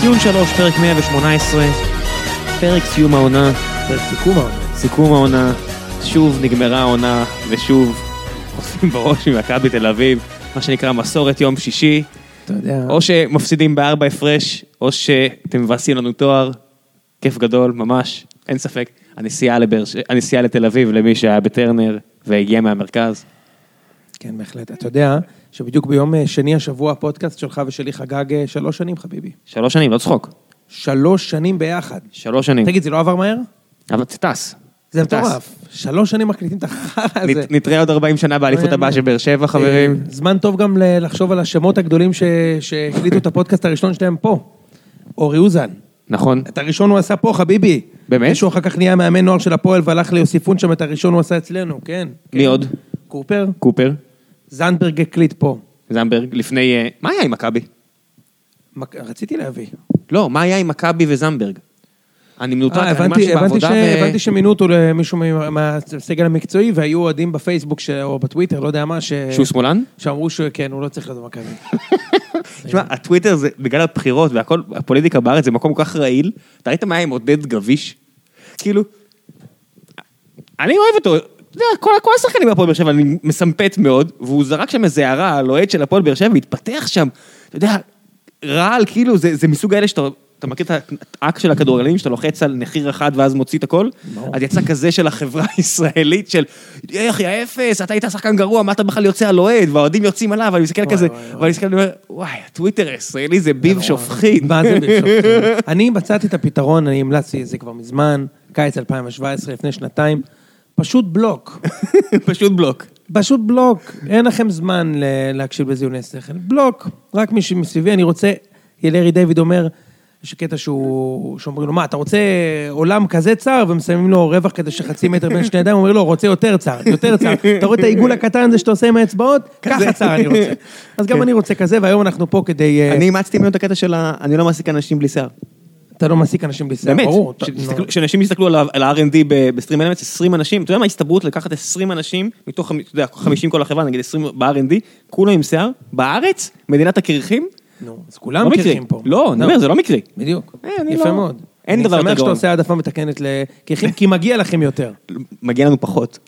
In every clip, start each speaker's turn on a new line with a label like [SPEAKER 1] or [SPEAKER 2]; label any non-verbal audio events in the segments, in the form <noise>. [SPEAKER 1] ציון 3, פרק 118, פרק סיום העונה,
[SPEAKER 2] פרק סיכום העונה.
[SPEAKER 1] סיכום העונה, שוב נגמרה העונה, ושוב עושים בראש ממכבי תל אביב, מה שנקרא מסורת יום שישי,
[SPEAKER 2] אתה יודע,
[SPEAKER 1] או שמפסידים בארבע הפרש, או שאתם מבאסים לנו תואר, כיף גדול, ממש, אין ספק. הנסיעה, לבאר ש... הנסיעה לתל אביב, למי שהיה בטרנר והגיע מהמרכז,
[SPEAKER 2] כן, בהחלט. אתה יודע שבדיוק ביום אה, שני השבוע הפודקאסט שלך ושלי חגג אה, שלוש שנים, חביבי.
[SPEAKER 1] שלוש שנים, לא צחוק,
[SPEAKER 2] שלוש שנים ביחד.
[SPEAKER 1] שלוש שנים.
[SPEAKER 2] תגיד, זה לא עבר מהר?
[SPEAKER 1] אבל זה טס.
[SPEAKER 2] זה
[SPEAKER 1] טס.
[SPEAKER 2] מטורף. שלוש שנים מקליטים את החרא
[SPEAKER 1] נת-
[SPEAKER 2] הזה.
[SPEAKER 1] נתראה עוד 40 שנה באליפות
[SPEAKER 2] לא
[SPEAKER 1] הבאה
[SPEAKER 2] יאמן.
[SPEAKER 1] של באר שבע, חברים.
[SPEAKER 2] אה, זמן טוב גם ל- לחשוב על השמות הגדולים ש- שהקליטו את הפודקאסט הראשון שלהם פה. אורי אוזן.
[SPEAKER 1] נכון.
[SPEAKER 2] את הראשון הוא עשה פה, חביבי.
[SPEAKER 1] באמת?
[SPEAKER 2] שהוא אחר כך נהיה מאמן נוער של הפועל והלך ליוסיפון שם, את הראשון הוא עשה אצלנו, כן.
[SPEAKER 1] מי עוד?
[SPEAKER 2] קורפר,
[SPEAKER 1] קופר,
[SPEAKER 2] זנדברג הקליט פה.
[SPEAKER 1] זמברג, לפני... אה, מה היה עם מכבי?
[SPEAKER 2] מק- רציתי להביא.
[SPEAKER 1] לא, מה היה עם מכבי וזמברג? אני מנותק,
[SPEAKER 2] אה,
[SPEAKER 1] אני ממש
[SPEAKER 2] הבנתי, הבנתי, ש...
[SPEAKER 1] בעבודה ו-
[SPEAKER 2] הבנתי שמינו אותו למישהו מה- מהסגל המקצועי, והיו אוהדים בפייסבוק ש... או בטוויטר, לא יודע מה, ש...
[SPEAKER 1] שהוא שמאלן?
[SPEAKER 2] שאמרו שהוא, כן, הוא לא צריך להיות במכבי.
[SPEAKER 1] תשמע, הטוויטר זה, בגלל הבחירות והכל, הפוליטיקה בארץ זה מקום כל כך רעיל. אתה ראית מה היה עם עודד גביש? כאילו, אני אוהב אותו. אתה יודע, כל, כל השחקנים בהפועל באר שבע, אני מסמפת מאוד, והוא זרק שם איזה הערה על אוהד של הפועל באר שבע, והתפתח שם, אתה יודע, רעל, כאילו, זה, זה מסוג האלה שאתה... אתה מכיר את האק של הכדורגלנים, שאתה לוחץ על נחיר אחד ואז מוציא את הכל?
[SPEAKER 2] ברור.
[SPEAKER 1] אז יצא כזה של החברה <laughs> הישראלית, של איך, יא אפס, אתה היית שחקן גרוע, מה אתה בכלל יוצא על אוהד, והאוהדים יוצאים עליו, ואני מסתכל
[SPEAKER 2] וואי,
[SPEAKER 1] כזה,
[SPEAKER 2] וואי, וואי.
[SPEAKER 1] ואני מסתכל ואני אומר, וואי, הטוויטר הישראלי זה ביב <laughs> שופכין.
[SPEAKER 2] מה זה בשופטים? אני מצאתי את הפתרון, אני המלצתי את זה כבר מזמן, קיץ 2017, לפני שנתיים, פשוט בלוק.
[SPEAKER 1] פשוט בלוק.
[SPEAKER 2] פשוט בלוק. אין לכם זמן ל- להקשיב לזיוני שכל. בלוק. רק מי שמסביבי, אני רוצה... ילרי דיוויד אומר, יש קטע שהוא... שאומרים לו, מה, אתה רוצה עולם כזה צר? ומסיימים לו רווח כזה שחצי מטר בין שני ידיים, הוא אומר לו, רוצה יותר צר, יותר צר. אתה רואה את העיגול הקטן הזה שאתה עושה עם האצבעות? ככה צר אני רוצה. אז גם אני רוצה כזה, והיום אנחנו פה כדי... אה,
[SPEAKER 1] כן. אני אימצתי ממנו את הקטע של ה... אני לא מעסיק אנשים בלי שיער.
[SPEAKER 2] אתה לא מעסיק אנשים בלי שיער,
[SPEAKER 1] באמת.
[SPEAKER 2] ברור. אתה-
[SPEAKER 1] שתסתכלו- שאנשים יסתכלו על ה- על ה-R&D ב- בסטרים אלמנטס, 20 אנשים, אתה יודע מה ההסתברות לקחת 20 אנשים, מתוך חמ- אתה יודע, 50 כל החברה, נגיד 20 ב-R&D, כולם עם שיער, בארץ, מדינת הקרחים,
[SPEAKER 2] נו, אז
[SPEAKER 1] לא
[SPEAKER 2] כולם
[SPEAKER 1] מקרי.
[SPEAKER 2] מכירים פה.
[SPEAKER 1] לא, אני אומר, זה לא מקרי.
[SPEAKER 2] בדיוק.
[SPEAKER 1] אה, אני
[SPEAKER 2] יפה
[SPEAKER 1] לא-
[SPEAKER 2] מאוד.
[SPEAKER 1] אין דבר יותר
[SPEAKER 2] אני שמח שאתה
[SPEAKER 1] גאון.
[SPEAKER 2] עושה העדפה מתקנת לקרחים, כי מגיע לכם יותר.
[SPEAKER 1] מגיע לנו פחות.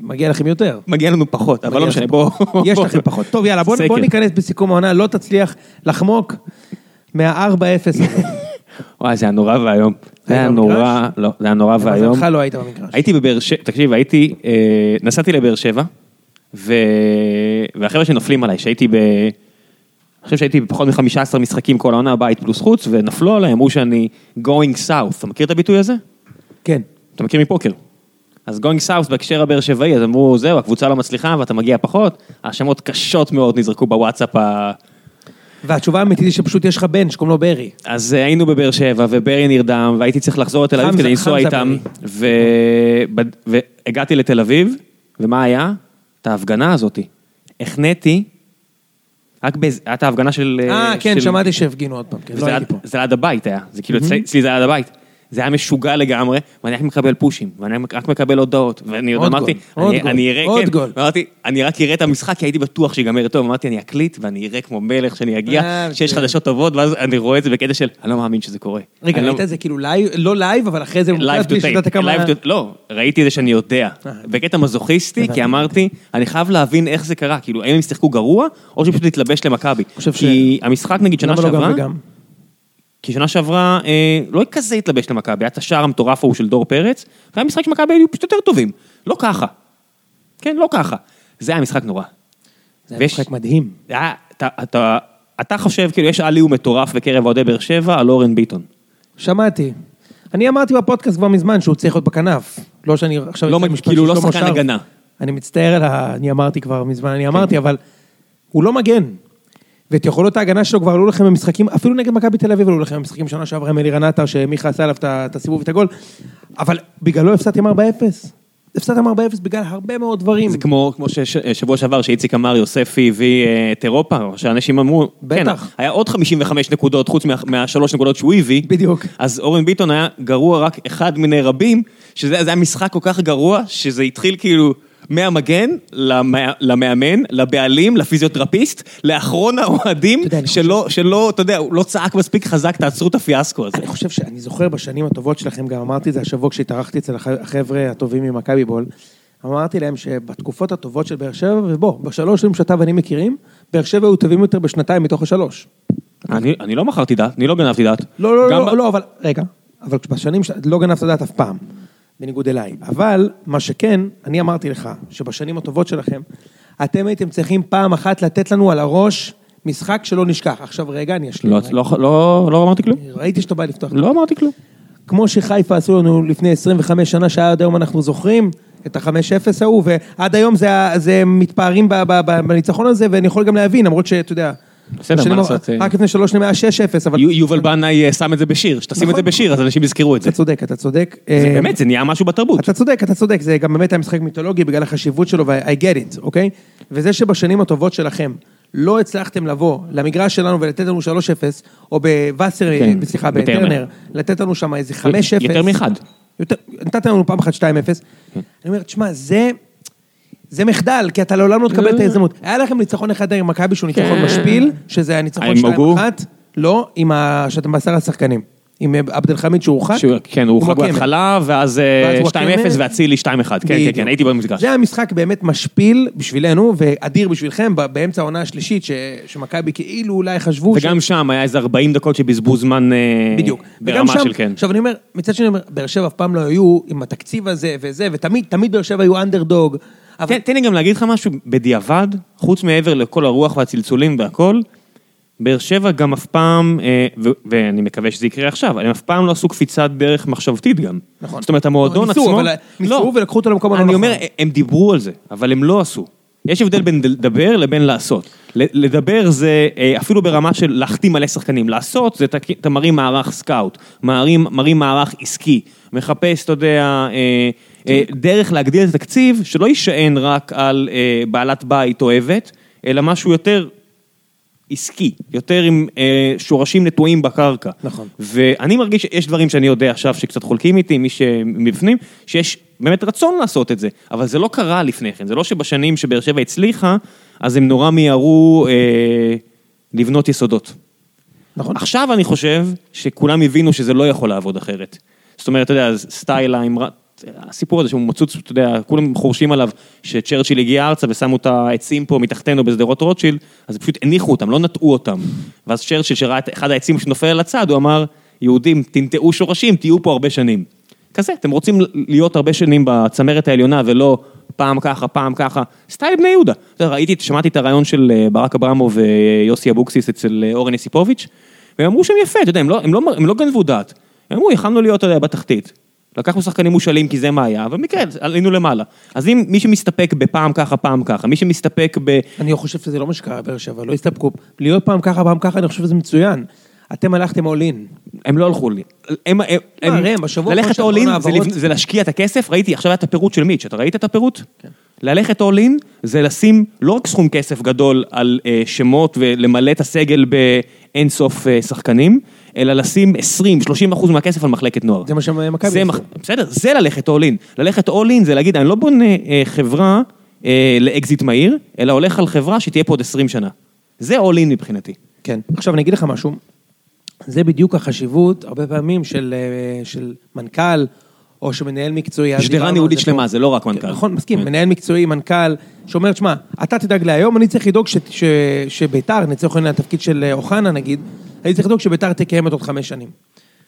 [SPEAKER 2] מגיע לכם יותר.
[SPEAKER 1] מגיע לנו פחות, אבל לא
[SPEAKER 2] מגיע
[SPEAKER 1] משנה,
[SPEAKER 2] לכם
[SPEAKER 1] בואו...
[SPEAKER 2] פחות. יש לכם פחות. טוב, יאללה,
[SPEAKER 1] <laughs>
[SPEAKER 2] בוא-
[SPEAKER 1] סקר.
[SPEAKER 2] בוא ניכנס בסיכום העונה, לא תצליח לחמוק מה-4-0
[SPEAKER 1] <laughs>
[SPEAKER 2] הזה.
[SPEAKER 1] וואי, זה היה נורא ואיום. זה היה
[SPEAKER 2] במגרש?
[SPEAKER 1] נורא, לא, זה היה נורא ואיום.
[SPEAKER 2] למזלך לא היית במגרש.
[SPEAKER 1] הייתי בבאר שבע, תקשיב, הייתי, אה, נסעתי לבאר שבע, ו... והחבר'ה שנופלים עליי, שהייתי ב... אני חושב שהייתי בפחות מ-15 משחקים כל העונה, בית פלוס חוץ, ונפלו עליי, אמרו שאני going south. אתה מכיר את הביטוי הזה?
[SPEAKER 2] כן.
[SPEAKER 1] אתה מכיר מפוקר. אז going south בהקשר הבאר שבעי, אז אמרו, זהו, הקבוצה לא מצליחה ואתה מגיע פחות. האשמות קשות מאוד נזרקו בוואטסאפ ה...
[SPEAKER 2] והתשובה האמיתית היא שפשוט יש לך בן שקוראים לו ברי.
[SPEAKER 1] אז אה, היינו בבאר שבע, וברי נרדם, והייתי צריך לחזור לתל אביב
[SPEAKER 2] חמזה-
[SPEAKER 1] כדי לנסוע
[SPEAKER 2] חמזה
[SPEAKER 1] איתם. ו... בד- והגעתי לתל אביב, ומה היה? את ההפגנה הזאתי. החניתי, רק באיזה... הייתה ההפגנה של...
[SPEAKER 2] אה, כן,
[SPEAKER 1] של-
[SPEAKER 2] שמעתי שהפגינו עוד פעם, כן,
[SPEAKER 1] וזה
[SPEAKER 2] לא
[SPEAKER 1] היה-
[SPEAKER 2] הייתי פה. Mhm.
[SPEAKER 1] זה ליד הבית היה, זה כאילו אצלי אצלי זה היה ליד הבית. זה היה משוגע לגמרי, ואני רק מקבל פושים, ואני רק מקבל הודעות, ואני עוד
[SPEAKER 2] עוד
[SPEAKER 1] אמרתי,
[SPEAKER 2] גול, עוד
[SPEAKER 1] אני-
[SPEAKER 2] גול,
[SPEAKER 1] אני אראה,
[SPEAKER 2] עוד
[SPEAKER 1] כן,
[SPEAKER 2] גול.
[SPEAKER 1] אמרתי, אני רק אראה את המשחק, כי הייתי בטוח שיגמר טוב, אמרתי, אני אקליט, ואני אראה כמו מלך שאני אגיע,
[SPEAKER 2] אה,
[SPEAKER 1] שיש
[SPEAKER 2] זה-
[SPEAKER 1] חדשות טובות, ואז אני רואה את זה בקטע של, אני לא מאמין שזה קורה.
[SPEAKER 2] רגע,
[SPEAKER 1] אני לא-
[SPEAKER 2] ראית את זה כאילו לייב, לא לייב, אבל אחרי זה... הוא
[SPEAKER 1] Live
[SPEAKER 2] מוקלט בלי
[SPEAKER 1] to
[SPEAKER 2] שידעת
[SPEAKER 1] tape,
[SPEAKER 2] כמה-
[SPEAKER 1] live to- לא, ראיתי את זה שאני יודע.
[SPEAKER 2] אה.
[SPEAKER 1] בקטע מזוכיסטי,
[SPEAKER 2] הבנתי.
[SPEAKER 1] כי אמרתי, אני חייב להבין איך זה קרה, כאילו, האם הם שיחקו גרוע, או שפשוט להתלבש למכבי.
[SPEAKER 2] חושב ש-
[SPEAKER 1] כי המשחק, נגיד, שנה
[SPEAKER 2] למה לא
[SPEAKER 1] שעברה,
[SPEAKER 2] גם וגם?
[SPEAKER 1] כי שנה שעברה אה, לא כזה התלבש למכבי, היה את השער המטורף ההוא של דור פרץ, היה משחק שמכבי היו פשוט יותר טובים, לא ככה. כן, לא ככה. זה היה משחק נורא.
[SPEAKER 2] זה היה
[SPEAKER 1] ויש-
[SPEAKER 2] משחק מדהים.
[SPEAKER 1] זה היה, אתה, אתה, אתה חושב, כאילו, יש עלי מטורף בקרב אוהדי באר שבע על אורן ביטון.
[SPEAKER 2] שמעתי. אני אמרתי בפודקאסט כבר מזמן שהוא צריך להיות בכנף. לא שאני עכשיו...
[SPEAKER 1] לא
[SPEAKER 2] אצא
[SPEAKER 1] מג-
[SPEAKER 2] משפט
[SPEAKER 1] כאילו,
[SPEAKER 2] של
[SPEAKER 1] לא
[SPEAKER 2] שלמה
[SPEAKER 1] שחקן
[SPEAKER 2] שרף.
[SPEAKER 1] הגנה. כן.
[SPEAKER 2] אני מצטער על ה... אני אמרתי כבר מזמן, אני אמרתי, אבל הוא לא מגן. ואת יכולות ההגנה שלו כבר עלו לכם במשחקים, אפילו נגד מכבי תל אביב עלו לכם במשחקים שנה שעברה עם אלירן עטר, שמיכה עשה עליו את ה- את הסיבוב ואת הגול. אבל בגללו הפסדתם 4-0. הפסדתם 4-0 בגלל הרבה מאוד דברים.
[SPEAKER 1] זה כמו, כמו ששבוע שעבר שאיציק אמר, יוספי הביא אה, את אירופה, או שאנשים אמרו,
[SPEAKER 2] בטח.
[SPEAKER 1] כן, היה עוד 55 נקודות חוץ מה- מהשלוש נקודות שהוא הביא.
[SPEAKER 2] בדיוק.
[SPEAKER 1] אז אורן ביטון היה גרוע רק אחד מיני רבים, שזה זה היה משחק כל כך גרוע, שזה התחיל כאילו, מהמגן, למא- למאמן, לבעלים, לפיזיותרפיסט, לאחרון האוהדים,
[SPEAKER 2] אתה יודע, אני
[SPEAKER 1] שלא, שלא, אתה יודע, הוא לא צעק מספיק חזק, תעצרו את הפיאסקו הזה.
[SPEAKER 2] אני חושב שאני זוכר בשנים הטובות שלכם, גם אמרתי את זה השבוע כשהתארחתי אצל הח- החבר'ה הטובים ממכבי בול, אמרתי להם שבתקופות הטובות של באר שבע, ובוא, בשלוש שנים שאתה ואני מכירים, באר שבע היו טובים יותר בשנתיים מתוך השלוש.
[SPEAKER 1] אני, אני לא מכרתי דעת, אני לא גנבתי דעת.
[SPEAKER 2] לא, לא,
[SPEAKER 1] גם
[SPEAKER 2] לא,
[SPEAKER 1] ב-
[SPEAKER 2] לא, אבל, רגע, אבל בשנים ש... לא גנבת דעת אף פעם, בניגוד אליי. אבל, מה שכן, אני אמרתי לך, שבשנים הטובות שלכם, אתם הייתם צריכים פעם אחת לתת לנו על הראש משחק שלא נשכח. עכשיו, רגע, אני אשלים.
[SPEAKER 1] לא,
[SPEAKER 2] רגע.
[SPEAKER 1] לא, לא, לא אמרתי כלום.
[SPEAKER 2] ראיתי שאתה בא לפתוח.
[SPEAKER 1] לא אמרתי כלום.
[SPEAKER 2] כמו שחיפה עשו לנו לפני 25 שנה, שעד היום אנחנו זוכרים את ה-5-0 ההוא, ועד היום זה, ה- זה מתפארים ב- ב- ב- בניצחון הזה, ואני יכול גם להבין, למרות שאתה יודע...
[SPEAKER 1] בסדר, מה
[SPEAKER 2] השנים-
[SPEAKER 1] לעשות, אה.
[SPEAKER 2] רק לפני שלוש שנים היה 6-0, אבל...
[SPEAKER 1] יו- יובל בנאי אה, שם את זה בשיר, שתשים את זה
[SPEAKER 2] נכון.
[SPEAKER 1] בשיר, אז אנשים יזכרו את זה.
[SPEAKER 2] אתה צודק, אתה צודק.
[SPEAKER 1] זה
[SPEAKER 2] אה,
[SPEAKER 1] באמת, זה נהיה משהו בתרבות.
[SPEAKER 2] אתה צודק, אתה צודק, זה גם באמת היה משחק מיתולוגי בגלל החשיבות שלו, ו-I get it, אוקיי? וזה שבשנים הטובות שלכם לא הצלחתם לבוא למגרש שלנו ולתת לנו 3-0, או בווסר,
[SPEAKER 1] כן,
[SPEAKER 2] סליחה,
[SPEAKER 1] בטרנר.
[SPEAKER 2] בטרנר, לתת לנו שם איזה 5-0.
[SPEAKER 1] יותר מאחד. כן.
[SPEAKER 2] יותר- נתת לנו פעם אחת 2-0. אני אומר, תשמע, זה... זה מחדל, כי אתה לעולם לא תקבל את ההזדמנות. היה לכם ניצחון אחד עם מכבי שהוא ניצחון משפיל, שזה היה ניצחון
[SPEAKER 1] כן. עם אוגו?
[SPEAKER 2] 2-1, לא, עם ה... שאתם בעשר השחקנים. עם עבד אל חמיד שהורחק.
[SPEAKER 1] שהוא- כן, הוא
[SPEAKER 2] עם אוקיי,
[SPEAKER 1] הורחק
[SPEAKER 2] וואקמה.
[SPEAKER 1] בהתחלה, ואז אה,
[SPEAKER 2] ואז הוא
[SPEAKER 1] 2-0
[SPEAKER 2] הקמר.
[SPEAKER 1] ואצילי 2-1. כן, כן,
[SPEAKER 2] בדיוק.
[SPEAKER 1] כן, הייתי במפגש.
[SPEAKER 2] זה היה משחק באמת משפיל בשבילנו, ואדיר בשבילכם, ב- באמצע העונה השלישית, ש- שמכבי כאילו אולי חשבו...
[SPEAKER 1] וגם אה, שם היה איזה 40 דקות שבזבוז זמן אה,
[SPEAKER 2] בדיוק. וגם
[SPEAKER 1] ברמה
[SPEAKER 2] שם,
[SPEAKER 1] של כן.
[SPEAKER 2] עכשיו אני אומר, מצד שני, אני אומר, באר שבע אף פעם לא היו עם התקציב הזה וזה, ותמיד, תמיד באר שבע היו אנדרדוג. אבל
[SPEAKER 1] תן- תן לי גם להגיד לך משהו, בדיעבד, חוץ מעבר לכל הרוח והצלצולים והכל, באר שבע גם אף פעם, אה, ו- ואני מקווה שזה יקרה עכשיו, הם אף פעם לא עשו קפיצת דרך מחשבתית גם.
[SPEAKER 2] נכון.
[SPEAKER 1] זאת אומרת, המועדון
[SPEAKER 2] לא, ניסו,
[SPEAKER 1] עצמו...
[SPEAKER 2] אבל ניסו ולקחו אותו למקום הלא
[SPEAKER 1] אני
[SPEAKER 2] נכון.
[SPEAKER 1] אומר, הם דיברו על זה, אבל הם לא עשו. יש הבדל בין לדבר לבין לעשות. ל- לדבר זה אה, אפילו ברמה של להחתים מלא שחקנים, לעשות זה תק- אתה מרים מערך סקאוט, מרים, מרים מערך עסקי, מחפש, אתה יודע, אה, אה, דרך להגדיל את התקציב, שלא יישען רק על אה, בעלת בית אוהבת, אלא משהו יותר עסקי, יותר עם אה, שורשים נטועים בקרקע.
[SPEAKER 2] נכון.
[SPEAKER 1] ואני מרגיש שיש דברים שאני יודע עכשיו שקצת חולקים איתי, מי שמבפנים, שיש באמת רצון לעשות את זה, אבל זה לא קרה לפני כן, זה לא שבשנים שבאר שבע הצליחה, אז הם נורא מיהרו אה, לבנות יסודות.
[SPEAKER 2] נכון.
[SPEAKER 1] עכשיו אני חושב שכולם הבינו שזה לא יכול לעבוד אחרת. זאת אומרת, אתה יודע, אז סטייל האמרה, הסיפור הזה שהוא מצוץ, אתה יודע, כולם חורשים עליו שצ'רצ'יל הגיע ארצה ושמו את העצים פה מתחתנו בשדרות רוטשילד, אז פשוט הניחו אותם, לא נטעו אותם. ואז צ'רצ'יל שראה את אחד העצים שנופל על הצד, הוא אמר, יהודים, תנטעו שורשים, תהיו פה הרבה שנים. כזה, אתם רוצים להיות הרבה שנים בצמרת העליונה ולא פעם ככה, פעם ככה, סטייל בני יהודה. אתה יודע, ראיתי, שמעתי את הרעיון של אה, ברק אברמוב ויוסי אבוקסיס אצל אה, אורן יסיפוביץ', והם אמרו שם יפה, אתה יודע, הם לא, הם לא, הם לא גנבו דעת. הם אמרו, יכלנו להיות, אתה יודע, בתחתית. לקחנו שחקנים מושאלים כי זה מה היה, אבל במקרה עלינו למעלה. אז אם מי שמסתפק בפעם ככה, פעם ככה, מי שמסתפק ב...
[SPEAKER 2] אני חושב שזה לא מה שקרה בבאר שבע, לא הסתפקו. להיות פעם ככה, פעם ככה, אני חושב שזה מצוין. אתם הלכתם all in.
[SPEAKER 1] הם לא הלכו לי. הם, הם,
[SPEAKER 2] מה, ראם, בשבוע
[SPEAKER 1] ללכת
[SPEAKER 2] האחרון
[SPEAKER 1] all in זה,
[SPEAKER 2] שהעברות-
[SPEAKER 1] לבנ- זה להשקיע את הכסף, ראיתי, עכשיו היה את הפירוט של מיץ', אתה ראית את הפירוט? כן. ללכת all in זה לשים לא רק סכום כסף גדול על אה, שמות ולמלא את הסגל באין סוף אה, שחקנים, אלא לשים 20-30 אחוז מהכסף על מחלקת נוער.
[SPEAKER 2] זה מה שמכבי
[SPEAKER 1] זה
[SPEAKER 2] עשו.
[SPEAKER 1] מח... בסדר, זה ללכת all in. ללכת all in זה להגיד, אני לא בונה אה, חברה אה, לאקזיט מהיר, אלא הולך על חברה שתהיה פה עוד 20 שנה. זה all in מבחינתי.
[SPEAKER 2] כן. עכשיו אני אגיד לך משהו, זה בדיוק החשיבות, הרבה פעמים, של, אה, של מנכ"ל, או שמנהל מקצועי. אז
[SPEAKER 1] שדרה
[SPEAKER 2] דיברנו על
[SPEAKER 1] ניהולית
[SPEAKER 2] זה
[SPEAKER 1] שלמה,
[SPEAKER 2] פה.
[SPEAKER 1] זה לא רק מנכ"ל.
[SPEAKER 2] נכון, מסכים, מנהל מקצועי, מנכ"ל, שאומר, שמע, אתה תדאג להיום, אני צריך לדאוג ש- ש- שביתר, לצורך העניין התפקיד של אה, אוחנה נגיד, אני צריך לדאוג שביתר תקיימת עוד חמש שנים,